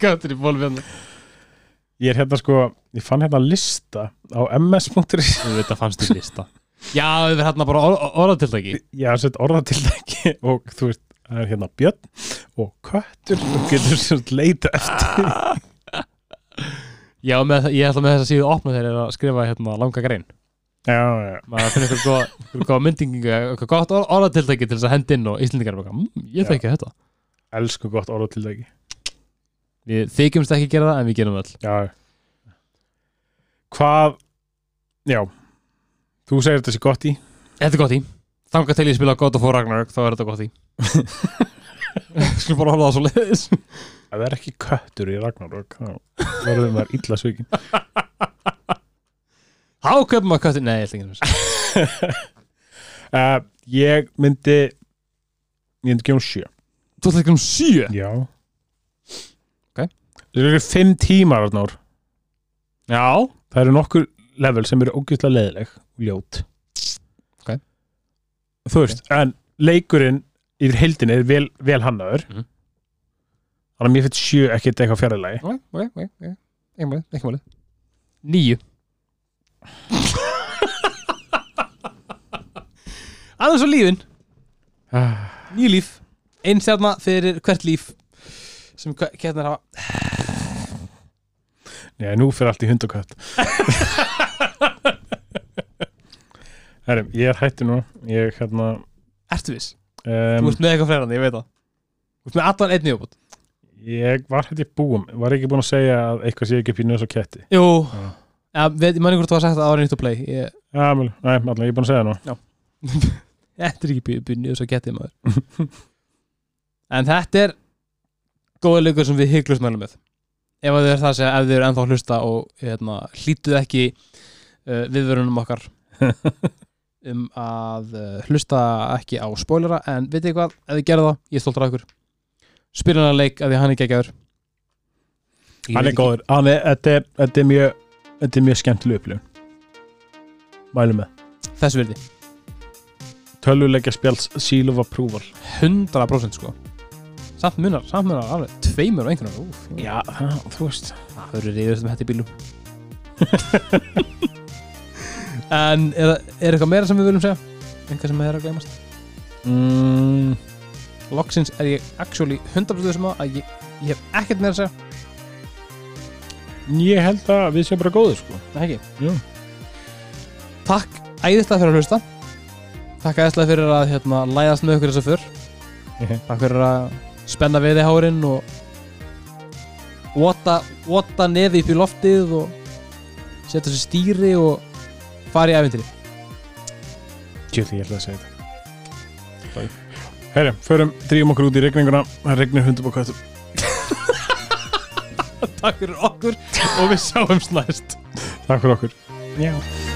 köttur í bóli bjarnan
Ég er hérna sko, ég fann hérna lista á ms.is
þú veit að fannst þér lista já, við erum hérna bara or orðatildagi
ég hafði sett orðatildæki og þú veist, það er hérna björn og köttur og getur sem sagt leita eftir
já, með, ég ætla með þess að síðu opna þeir að skrifa hérna langa grein
já, já,
maður finnir eitthvað góða, einhver góða myndingu eitthvað gott orð, orðatiltæki til þess að henda inn og Íslendingar er bara, mmm, ég þekki þetta
elsku gott orðatildæki
við þykjumst ekki gera það en við gerum það öll
já hvað já, þú segir þetta sé gott í
þetta er gott í, þangað til ég spila God of War Ragnarök þá er þetta gott í skulum bara horfa á það svo leiðis
ef það er ekki köttur í Ragnarök þá verður maður illa svikin
þá köpum maður köttin, nei, ég ætla ekki að segja.
uh, ég myndi ég myndi gefa um sjö
þú ætla ekki um sjö
já
Ok.
það eru fimm tímar Arnór
já,
Það eru nokkur level sem eru ógjöfla leðileg og ljót
Ok.
Þú veist, en leikurinn yfir heildin er vel, vel hannaður
Mhm.
Þannig að mér finnst sjö ekkert eitthvað fjarlægi
ok, ok, ok, ok. ekki málið, ekki málið níu aðeins á lífin nýju líf einn stjarna fyrir hvert líf sem ketnar hafa
Nei, nú fyrir allt í hund og kött Herrum, ég er hættur nú Ég hérna
ertu viss, þú
um,
ert með eitthvað fleirandi, ég veit það þú ert með allan einn nýjóbútt
Ég var hætti búum Var ekki búin að segja að eitthvað sé ekki upp í nöðs og ketti
jú,
Já.
ja, veit, ég manni hvort þú var sagt að það var nýtt að play ég,
Já, mjög, nei, allan, ég er búin að segja það nú
þetta er ekki byrni og svo getið maður en þetta er góða leikur sem við hygglust mælum með ef að þið er það að segja, ef þið eru ennþá að hlusta og hérna, hlýtuð ekki uh, viðvörunum okkar um að uh, hlusta ekki á spoilera en vitið þið hvað, ef þið gerðu það, ég er stoltur af ykkur spyrjana leik að því hann er geggjör
hann er góður hann er, þetta, er, þetta er mjög þetta er mjög skemmtileg upplifun mælum með
þessu virði
tölvuleikja spjáls seal of approval
100% sko samt munar, samt munar alveg tveimur og einhvern úf,
já, það, þú veist
það verður reyðast um þetta í bílum en er, er eitthvað meira sem við viljum segja einhvað sem er að gleymast
mm,
loksins er ég actually 100% þessum á um að ég, ég hef ekkert meira að segja
ég held að við séum bara góðir sko.
Það ekki
Jú.
Takk æðislega fyrir að hlusta Takk æðislega fyrir að hérna, læðast með okkur þess að fyrr Takk fyrir að spenna við í hárin og óta, óta nefi upp í loftið og setja sér stýri og fara í æfintri
Kjöld, ég ætla að segja þetta Herri, förum, drýjum okkur út í regninguna Það regnir hundum og kvættum
Takk fyrir okkur og við sjáum slæst
Takk fyrir okkur Já